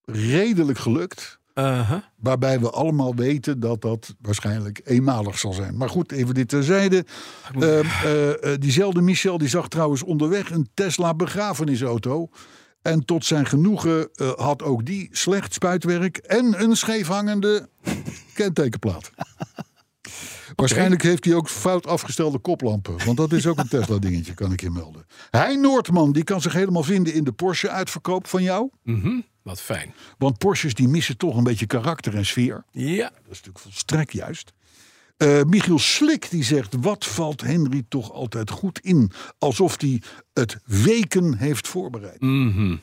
Speaker 4: redelijk gelukt.
Speaker 5: Uh-huh.
Speaker 4: Waarbij we allemaal weten dat dat waarschijnlijk eenmalig zal zijn. Maar goed, even dit terzijde. Ehm, Eh, eh, eh, diezelfde Michel die zag trouwens onderweg een Tesla begrafenisauto. En tot zijn genoegen eh, had ook die slecht spuitwerk en een scheefhangende *laughs* kentekenplaat. Waarschijnlijk heeft hij ook fout afgestelde koplampen. Want dat is ook een Tesla-dingetje, kan ik je melden. Hij Noordman, die kan zich helemaal vinden in de Porsche-uitverkoop van jou.
Speaker 5: Wat fijn.
Speaker 4: Want Porsches die missen toch een beetje karakter en sfeer.
Speaker 5: Ja.
Speaker 4: Dat is natuurlijk volstrekt juist. Eh, Michiel Slik die zegt: Wat valt Henry toch altijd goed in? Alsof hij het weken heeft voorbereid.
Speaker 5: Mhm.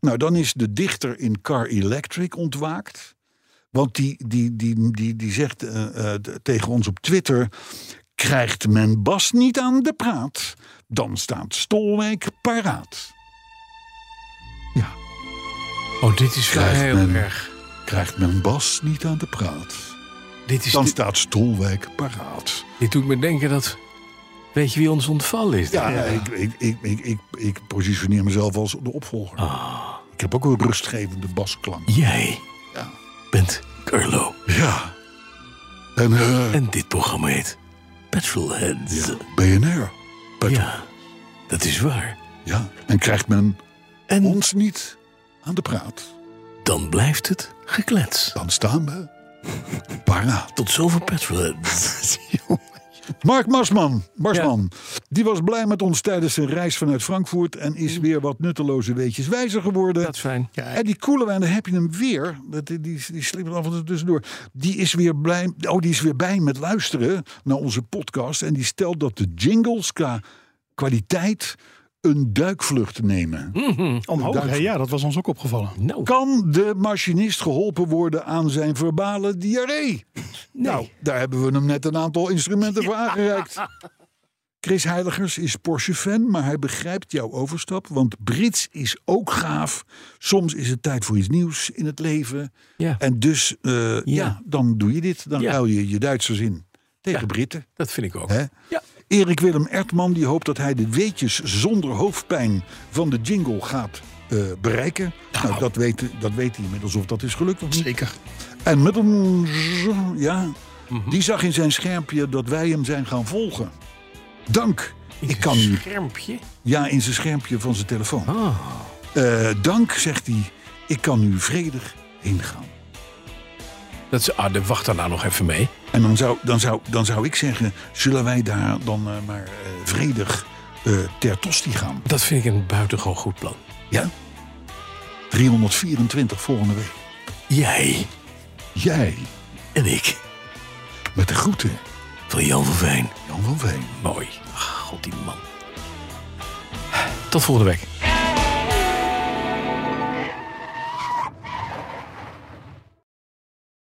Speaker 4: Nou, dan is de dichter in Car Electric ontwaakt. Want die, die, die, die, die zegt eh, eh, t- tegen ons op Twitter: Krijgt men Bas niet aan de praat, dan staat Stolwijk paraat.
Speaker 5: Oh, dit is
Speaker 4: Krijgt
Speaker 5: heel
Speaker 4: men-
Speaker 5: erg.
Speaker 4: Krijgt men Bas niet aan de praat,
Speaker 5: Dit, is,
Speaker 4: dan
Speaker 5: dit,
Speaker 4: staat Stolwijk paraat.
Speaker 5: dit doet me denken dat... Weet je wie ons ontvallen is?
Speaker 4: Ja, Ik, ik, ik, ik, ik, ik positioneer mezelf als de opvolger. Ik heb ook een rustgevende basklank.
Speaker 5: Jij
Speaker 4: Ja.
Speaker 5: bent Carlo.
Speaker 4: Ja. En eh,
Speaker 5: En dit programma heet Petrolheads. Ja.
Speaker 4: BNR. Petrol. Ja.
Speaker 5: dat is waar.
Speaker 4: En krijgt men
Speaker 5: En
Speaker 4: ons niet aan de praat,
Speaker 5: dan blijft het geklets.
Speaker 4: dan staan we *laughs* paraat.
Speaker 5: Tot zover
Speaker 4: *laughs*
Speaker 5: Petrolheads.
Speaker 4: Mark Marsman, Marsman die was blij met ons tijdens zijn reis vanuit Frankfurt... en is weer wat nutteloze weetjes wijzer geworden.
Speaker 5: Dat is fijn.
Speaker 4: En die Koelewijn, daar heb je hem weer. Dat- Die, die, die sliep er af en toe tussendoor. Die is weer blij. Oh, die is weer bij met luisteren naar onze podcast. En die stelt dat de jingles qua kwaliteit een duikvlucht nemen.
Speaker 6: Omhoog, hè? ja, dat was ons ook opgevallen.
Speaker 5: Nou,
Speaker 4: Kan de machinist geholpen worden aan zijn verbale diarree? Nou, daar hebben we hem net een aantal instrumenten voor aangereikt. Chris Heiligers is Porsche-fan, maar hij begrijpt jouw overstap. Want Brits is ook gaaf. Soms is het tijd voor iets nieuws in het leven.
Speaker 5: Ja.
Speaker 4: En dus, eh, ja. dan doe je dit. Dan
Speaker 5: Ja.
Speaker 4: ruil je je Duitsers in tegen Britten.
Speaker 5: dat vind ik ook.
Speaker 4: Hè?
Speaker 5: Ja.
Speaker 4: Erik Willem Ertman die hoopt dat hij de weetjes zonder hoofdpijn van de jingle gaat eh, bereiken. Nou, dat weet, dat weet hij inmiddels of dat is gelukt of niet.
Speaker 6: Zeker.
Speaker 4: En met een... z- ja, die zag in zijn schermpje dat wij hem zijn gaan volgen. Dank. Ik kan nu...
Speaker 5: Schermpje.
Speaker 4: Ja, in zijn schermpje van zijn telefoon. Eh, dank, zegt hij. Ik kan nu vredig heen gaan.
Speaker 5: Dat is, ah, de wacht daarna nog even mee.
Speaker 4: En dan zou, dan, zou, dan zou ik zeggen, zullen wij daar dan eh, maar eh, vredig eh, ter tosti gaan?
Speaker 5: Dat vind ik een buitengewoon goed plan.
Speaker 4: Ja? 324 volgende week.
Speaker 5: Jij
Speaker 4: Jij,
Speaker 5: en ik
Speaker 4: met de groeten,
Speaker 5: van Jan van Veen.
Speaker 4: Jan van Veen.
Speaker 5: Mooi. Ach, God, die man. Tot volgende week.